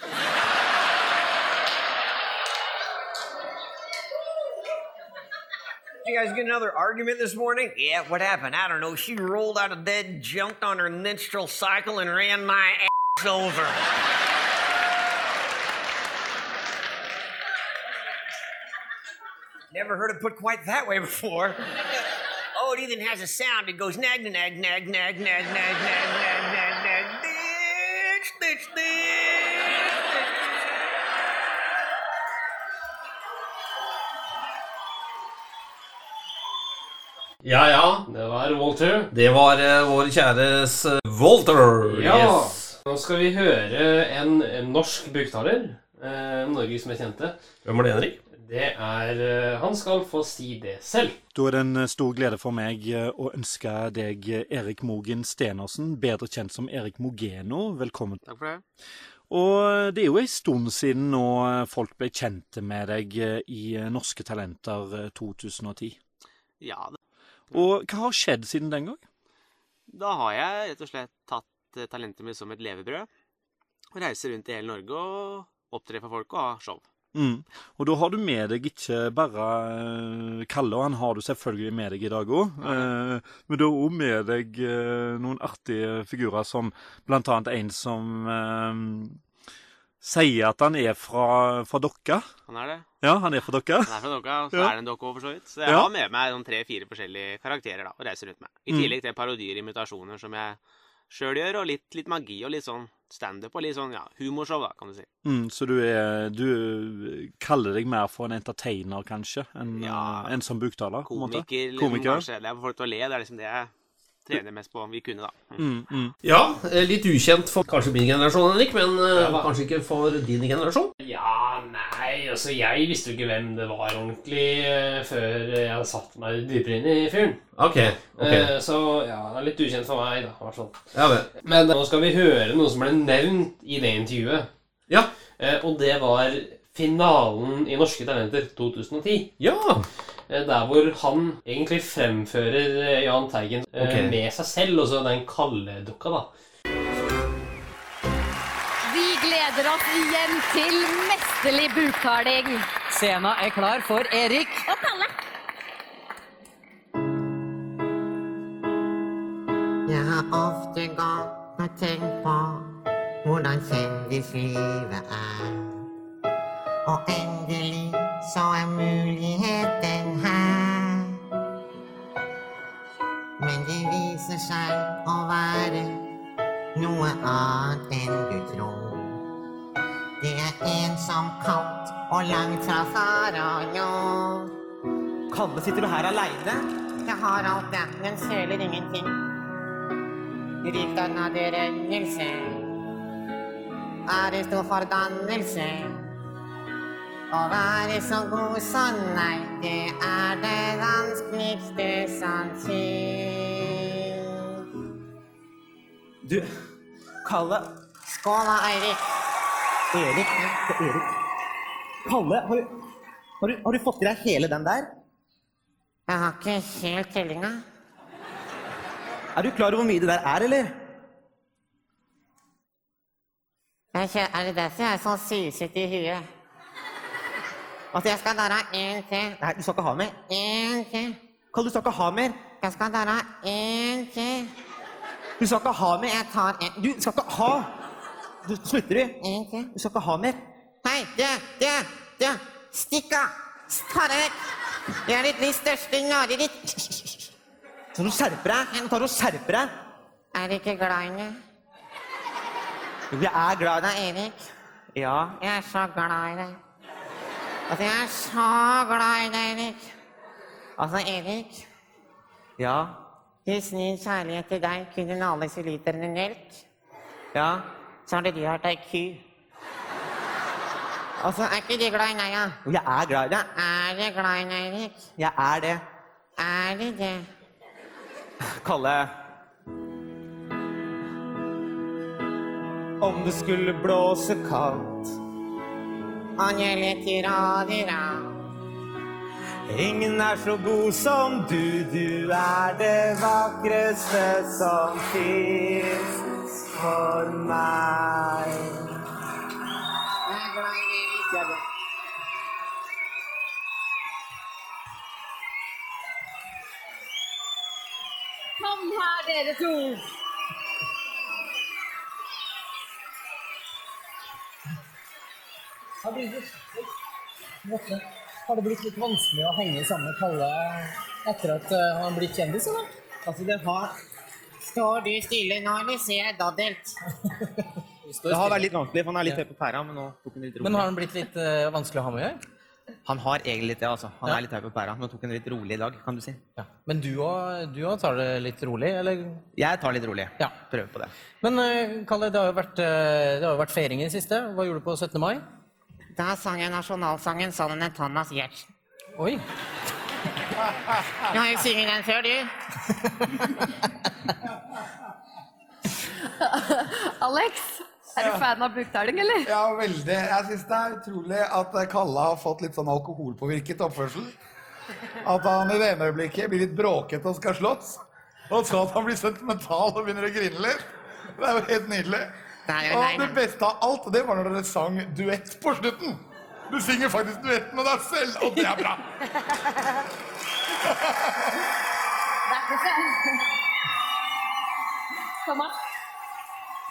[SPEAKER 29] You guys get another argument this morning?
[SPEAKER 25] Yeah, what happened? I don't know. She rolled out of bed, jumped on her menstrual cycle, and ran my ass over.
[SPEAKER 29] Never heard it put quite that way before.
[SPEAKER 25] Oh, it even has a sound. It goes nag, nag, nag, nag, nag, nag, nag, nag, nag, nag. Bitch, bitch, bitch.
[SPEAKER 1] Ja ja, det var Walter.
[SPEAKER 14] Det var eh, vår kjæres eh, Walter.
[SPEAKER 1] Ja.
[SPEAKER 14] Yes.
[SPEAKER 1] Nå skal vi høre en, en norsk buktaler. Eh, Norges mest kjente.
[SPEAKER 14] Hvem var det, Henrik?
[SPEAKER 1] Det er eh, Han skal få si det selv.
[SPEAKER 30] Da er det en eh, stor glede for meg eh, å ønske deg eh, Erik Mogen Stenersen, bedre kjent som Erik Mogeno, velkommen.
[SPEAKER 24] Takk for det.
[SPEAKER 30] Og eh, det er jo en stund siden nå eh, folk ble kjente med deg eh, i eh, Norske Talenter eh, 2010.
[SPEAKER 24] Ja, da-
[SPEAKER 30] Og hva har skjedd siden den gang?
[SPEAKER 24] da har jeg rett og slett tatt eh, talentet mitt som et levebrød. Og reiser rundt i hele Norge og opptrer for folk og har show.
[SPEAKER 30] Mm. Og da har du med deg ikke bare eh, Kalle, og han har du selvfølgelig med deg i dag òg, men du har òg med deg eh, noen artige figurer, som blant annet en som eh, sier at han er fra, fra Dokka.
[SPEAKER 24] Han er det.
[SPEAKER 30] Ja, han er fra Dokka.
[SPEAKER 24] Han er fra Dokka, og så
[SPEAKER 30] Ja.
[SPEAKER 24] er det en dokke også, for så vidt. Så jeg
[SPEAKER 30] Ja.
[SPEAKER 24] har med meg sånn tre-fire forskjellige karakterer da, og reiser rundt med. I
[SPEAKER 30] Mm.
[SPEAKER 24] tillegg til parodier og imitasjoner som jeg sjøl gjør, og litt, litt magi og litt sånn standup og litt sånn ja, humorshow, da, kan du si.
[SPEAKER 30] Mm, så du, er, du kaller deg mer for en entertainer, kanskje, enn eh, en som buktaler? på en måte?
[SPEAKER 24] Komiker, liksom,
[SPEAKER 30] Komiker.
[SPEAKER 24] kanskje. Det er for folk til å le. Det er liksom det jeg trener mest på. Vi kunne, da.
[SPEAKER 1] Mm.
[SPEAKER 14] Ja, eh, litt ukjent for kanskje min generasjon, Henrik, men eh,
[SPEAKER 24] Ja, hva?
[SPEAKER 14] kanskje ikke for din generasjon.
[SPEAKER 24] Mm.
[SPEAKER 1] Ja, nei, altså jeg visste jo ikke hvem det var ordentlig eh, før jeg hadde satt meg dypere inn i fyren.
[SPEAKER 14] Ok, ok.
[SPEAKER 1] Eh, Så ja, han er litt ukjent for meg, da, i hvert fall.
[SPEAKER 14] Ja vel.
[SPEAKER 1] Men eh, nå skal vi høre noe som ble nevnt i det intervjuet. Eh,
[SPEAKER 14] Ja.
[SPEAKER 1] Og det var finalen i Norske Talenter 2010.
[SPEAKER 14] Ja.
[SPEAKER 1] Eh, Der hvor han egentlig fremfører eh, Jahn Teigen eh,
[SPEAKER 14] Ok.
[SPEAKER 1] med seg selv, og så den kalde dukka, da.
[SPEAKER 23] Vi gleder oss igjen til mesterlig buktaling.
[SPEAKER 31] Scena er klar for Erik.
[SPEAKER 23] Og Kalle.
[SPEAKER 32] Jeg har ofte gått og tenkt på hvordan kjendislivet er. Og endelig så er muligheten her. Men det viser seg å være noe annet enn du tror. Det er ensomt, kaldt og langt fra fara nå. Kalle, sitter du her aleine? Jeg har alt, det, men føler ingenting. Rikdom av berennelse er en stor fordannelse. Å være så god som nei, det er det vanskeligste som finnes. Du, Kalle Skål da, Eirik. Erik, Erik. Kalle, har du, har, du, har du fått i deg hele den der? Jeg har ikke helt tellinga. Er du klar over hvor mye det der er, eller? Jeg kje- Er det derfor jeg er så suset i huet? At jeg skal dra en til. Nei, du skal ikke ha mer. En til. Kalle, du skal ikke ha mer. Jeg skal dra en til. Du skal ikke ha mer. Jeg tar en. Du skal ikke ha. Du, slutter du? En til. Du skal ikke ha mer. Hei, du, du, du. Stikk av! Ta deg vekk! Du er ditt livs største nareritt. Så du skjerper deg. Jeg tar og skjerper deg. Er du ikke glad i meg? Jo, Jeg er Ah, glad i deg. Erik, Ja. jeg er så glad i deg. Altså, jeg er så glad i deg, Erik. Altså, Erik, Ja. hvis min kjærlighet til deg kunne nales i liter med melk, Ja. så hadde du vært ei ku. Altså, er ikke du glad i meg, ja? Jo, Jeg er glad i deg. Er du glad i meg, Erik? Jeg er det. Er du det? Kalle. Om det skulle blåse kaldt Angeliki radira. Ingen er så god som du, du er det vakreste som fins for meg.
[SPEAKER 33] Kom her, dere to.
[SPEAKER 24] Har det blitt, Morten, har det blitt litt vanskelig å henge sammen med Kalle etter at eh, han har blitt kjendis, eller? Altså, det har
[SPEAKER 32] Står du stille nå, eller ser jeg daddelt?
[SPEAKER 24] Det har vært
[SPEAKER 32] litt vanskelig, for han er litt høy på pæra. Men nå tok han litt rolig.
[SPEAKER 24] Men har han blitt litt eh, vanskelig å ha med å gjøre?
[SPEAKER 32] Han har egentlig litt det, altså. Han
[SPEAKER 24] Ja.
[SPEAKER 32] er litt høy på pæra. Nå tok han litt rolig i dag, kan du si.
[SPEAKER 24] Men du òg du òg tar det litt rolig, eller?
[SPEAKER 32] Jeg tar litt rolig. Ja. Prøver på det.
[SPEAKER 24] Men eh, Kalle, det har jo vært, eh, det har jo vært feiring i det siste. Hva gjorde du på 17. mai?
[SPEAKER 32] Da sang jeg nasjonalsangen sammen med Thomas Giertz.
[SPEAKER 24] Oi.
[SPEAKER 32] Du har jo sunget den før, du.
[SPEAKER 34] Alex, er du fan av buktaling, eller? Ja, veldig. Jeg syns det er utrolig at Kalle har fått litt sånn alkoholpåvirket oppførsel. At han i det ene øyeblikket blir litt bråkete og skal slåss, og så at han blir sentimental og begynner å grine litt. Det er jo helt nydelig.
[SPEAKER 32] jo
[SPEAKER 34] og
[SPEAKER 32] nei,
[SPEAKER 34] det beste av alt, det var når dere sang duett på slutten. Du synger faktisk duett med deg selv, og det er bra.
[SPEAKER 33] Det er ikke sant. Thomas,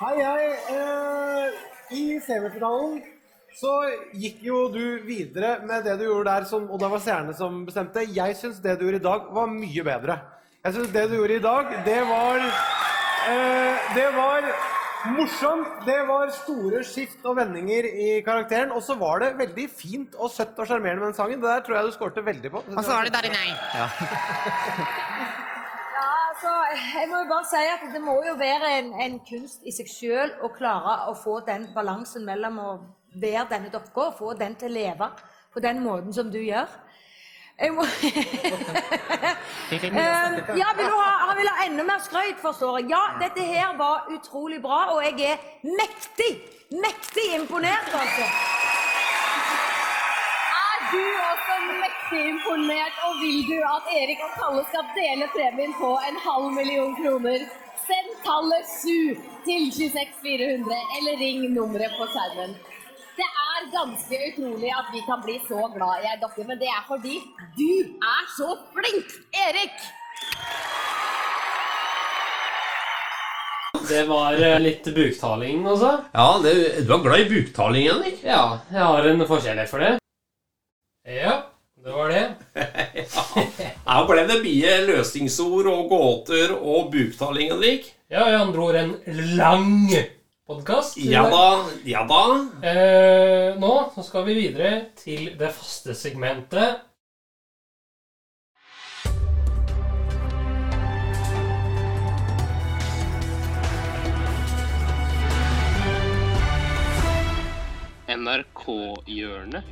[SPEAKER 24] Hei, hei. Eh, I semifinalen
[SPEAKER 7] så gikk jo du videre med det du gjorde der, som, og det var seerne som bestemte. Jeg syns det du gjorde i dag, var mye bedre. Jeg syns det du gjorde i dag, det var eh, Det var morsomt. Det var store skift og vendinger i karakteren. Og så var det veldig fint og søtt og sjarmerende med den sangen. Det der tror jeg du skårte veldig på.
[SPEAKER 32] Og så var det Darre Nei.
[SPEAKER 33] ja, altså, jeg må jo bare si at det må jo være en, en kunst i seg sjøl å klare å få den balansen mellom å være denne dokka og få den til å leve på den måten som du gjør. Jeg må... Eh, ja, vil du ha, han vil ha enda mer skrøyt, forstår jeg. Ja, dette her var utrolig bra, og jeg er mektig, mektig imponert, altså.
[SPEAKER 23] Er du også mektig imponert, og vil du at Erik og Kalle skal dele premien på en halv million kroner? Send tallet 7 til 26400, eller ring nummeret på skjermen. Det er ganske utrolig at vi kan bli så glad i ei dokke, men det er fordi du er så flink, Erik!
[SPEAKER 1] Det var eh, litt buktaling, altså.
[SPEAKER 35] Ja, det, du er glad i buktaling, Henrik.
[SPEAKER 1] Ja, jeg har en forkjærlighet for det. Ja, det var det.
[SPEAKER 35] Her ble det mye løsningsord og gåter og buktaling, Henrik.
[SPEAKER 1] Ja, jeg andre ord en lang podkast.
[SPEAKER 35] Ja da, ja da.
[SPEAKER 1] Eh, nå så skal vi videre til det faste segmentet.
[SPEAKER 35] NRK-hjørnet.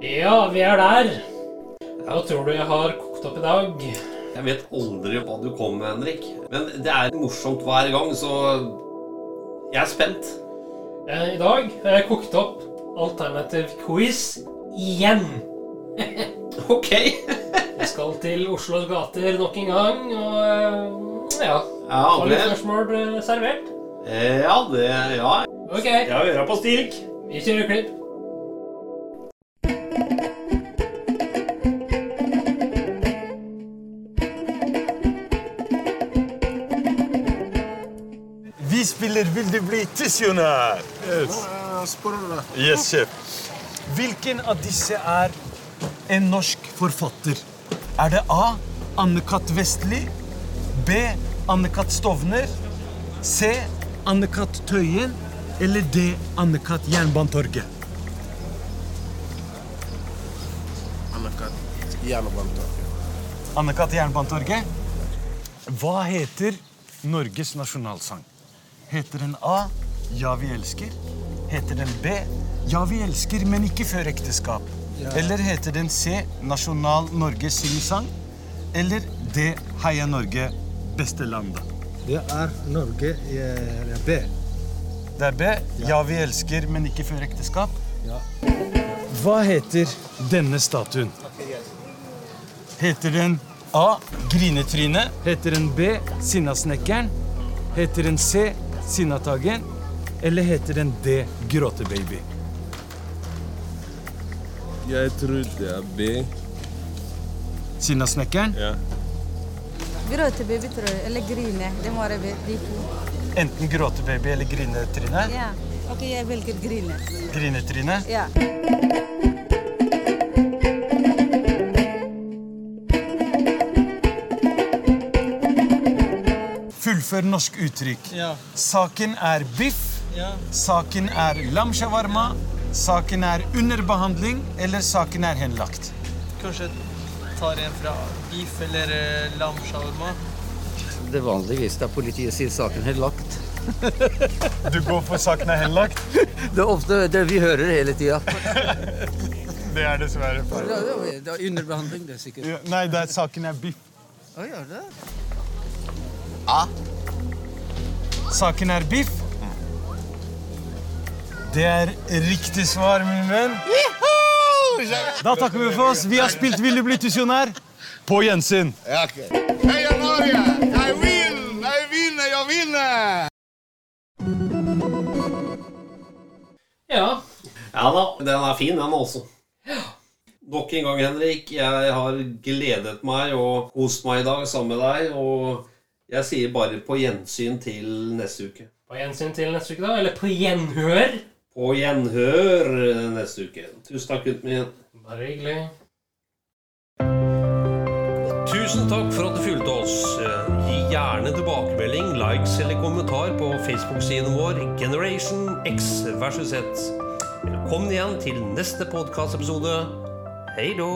[SPEAKER 1] Ja, vi er der. Hva tror du jeg har kokt opp i dag?
[SPEAKER 35] Jeg vet aldri hva du kommer med, Henrik. Men det er morsomt hver gang, så jeg er spent.
[SPEAKER 1] Eh, I dag har jeg kokt opp alternativ quiz igjen.
[SPEAKER 35] ok.
[SPEAKER 1] jeg skal til Oslos gater nok en gang, og eh, ja.
[SPEAKER 35] Ja,
[SPEAKER 1] Har du
[SPEAKER 35] det-
[SPEAKER 1] spørsmål eh, servert?
[SPEAKER 35] Eh, Ja, det Ja.
[SPEAKER 1] Ok.
[SPEAKER 35] Jeg har øra på stilk.
[SPEAKER 1] Vi kjører klipp.
[SPEAKER 35] Vi spiller Vil du bli tusjonær? Yes, sjef. Hvilken av disse er en norsk forfatter? Er det A. Anne-Kat. Vestli? B. Anne-Kat. Stovner? C. Anne-Kat. Tøyen? Eller D. Anne-Kat. Jernbanetorget?
[SPEAKER 6] Anne-Kat. Jernbanetorget.
[SPEAKER 35] Anne-Kat. Jernbanetorget. Hva heter Norges nasjonalsang? Heter den A. Ja, vi elsker? Heter den B. Ja, vi elsker, men ikke før ekteskap?
[SPEAKER 6] Ja.
[SPEAKER 35] Eller heter den C. Nasjonal Norge syngesang? Eller D. Heia Norge, beste landet?
[SPEAKER 6] Det er Norge eh, B.
[SPEAKER 35] Det er B. Ja, vi elsker, men ikke før ekteskap?
[SPEAKER 6] Ja.
[SPEAKER 35] Hva heter denne statuen? Heter den A. Grinetryne? Heter den B. Sinnasnekkeren? Heter den C. Sinnatagen? Eller heter den D, gråtebaby?
[SPEAKER 36] Jeg tror det er B.
[SPEAKER 35] Sinnasnekkeren?
[SPEAKER 36] Ja.
[SPEAKER 37] Gråtebaby, tror jeg. Eller grine. Det må være be- de to.
[SPEAKER 35] Enten gråtebaby eller grinetryne?
[SPEAKER 37] Ja. Ok, jeg velger grine.
[SPEAKER 35] Grinetryne?
[SPEAKER 37] Ja.
[SPEAKER 35] Fullfør norsk uttrykk.
[SPEAKER 24] Ja.
[SPEAKER 35] Saken er biff. Saken er lam shawarma. Saken er under behandling, eller saken er henlagt.
[SPEAKER 24] Kanskje tar en fra beef eller eh, lam shawarma.
[SPEAKER 6] Det vanligvis der politiet sier saken er lagt.
[SPEAKER 35] Du går for saken er henlagt?
[SPEAKER 6] Det er ofte det vi hører hele tida.
[SPEAKER 35] Det er dessverre feil.
[SPEAKER 6] Det er underbehandling, det er sikkert.
[SPEAKER 35] Ja, Nei, det er saken er biff.
[SPEAKER 6] Å, gjør det?
[SPEAKER 35] A. Saken er biff. Det er riktig svar, min venn. Da takker vi for oss. Vi har spilt Vil du bli tusjonær? På gjensyn.
[SPEAKER 34] Heia Norge! Jeg vinner! Jeg vinner! Jeg vinner!
[SPEAKER 38] Ja.
[SPEAKER 1] Ja da, den er fin, den også. Nok en gang, Henrik. Jeg har gledet meg og kost meg i dag sammen med deg. Og jeg sier bare på gjensyn til neste uke.
[SPEAKER 38] På gjensyn til neste uke, da. Eller på gjenhør.
[SPEAKER 1] På gjenhør eh, neste uke. Tusen takk, gutten min.
[SPEAKER 38] Bare hyggelig.
[SPEAKER 1] Tusen takk for at du fulgte oss. Eh, Gi gjerne tilbakemelding, likes eller kommentar på Facebook-siden vår Generation X versus Z. Velkommen igjen til neste podkastepisode. Hei då!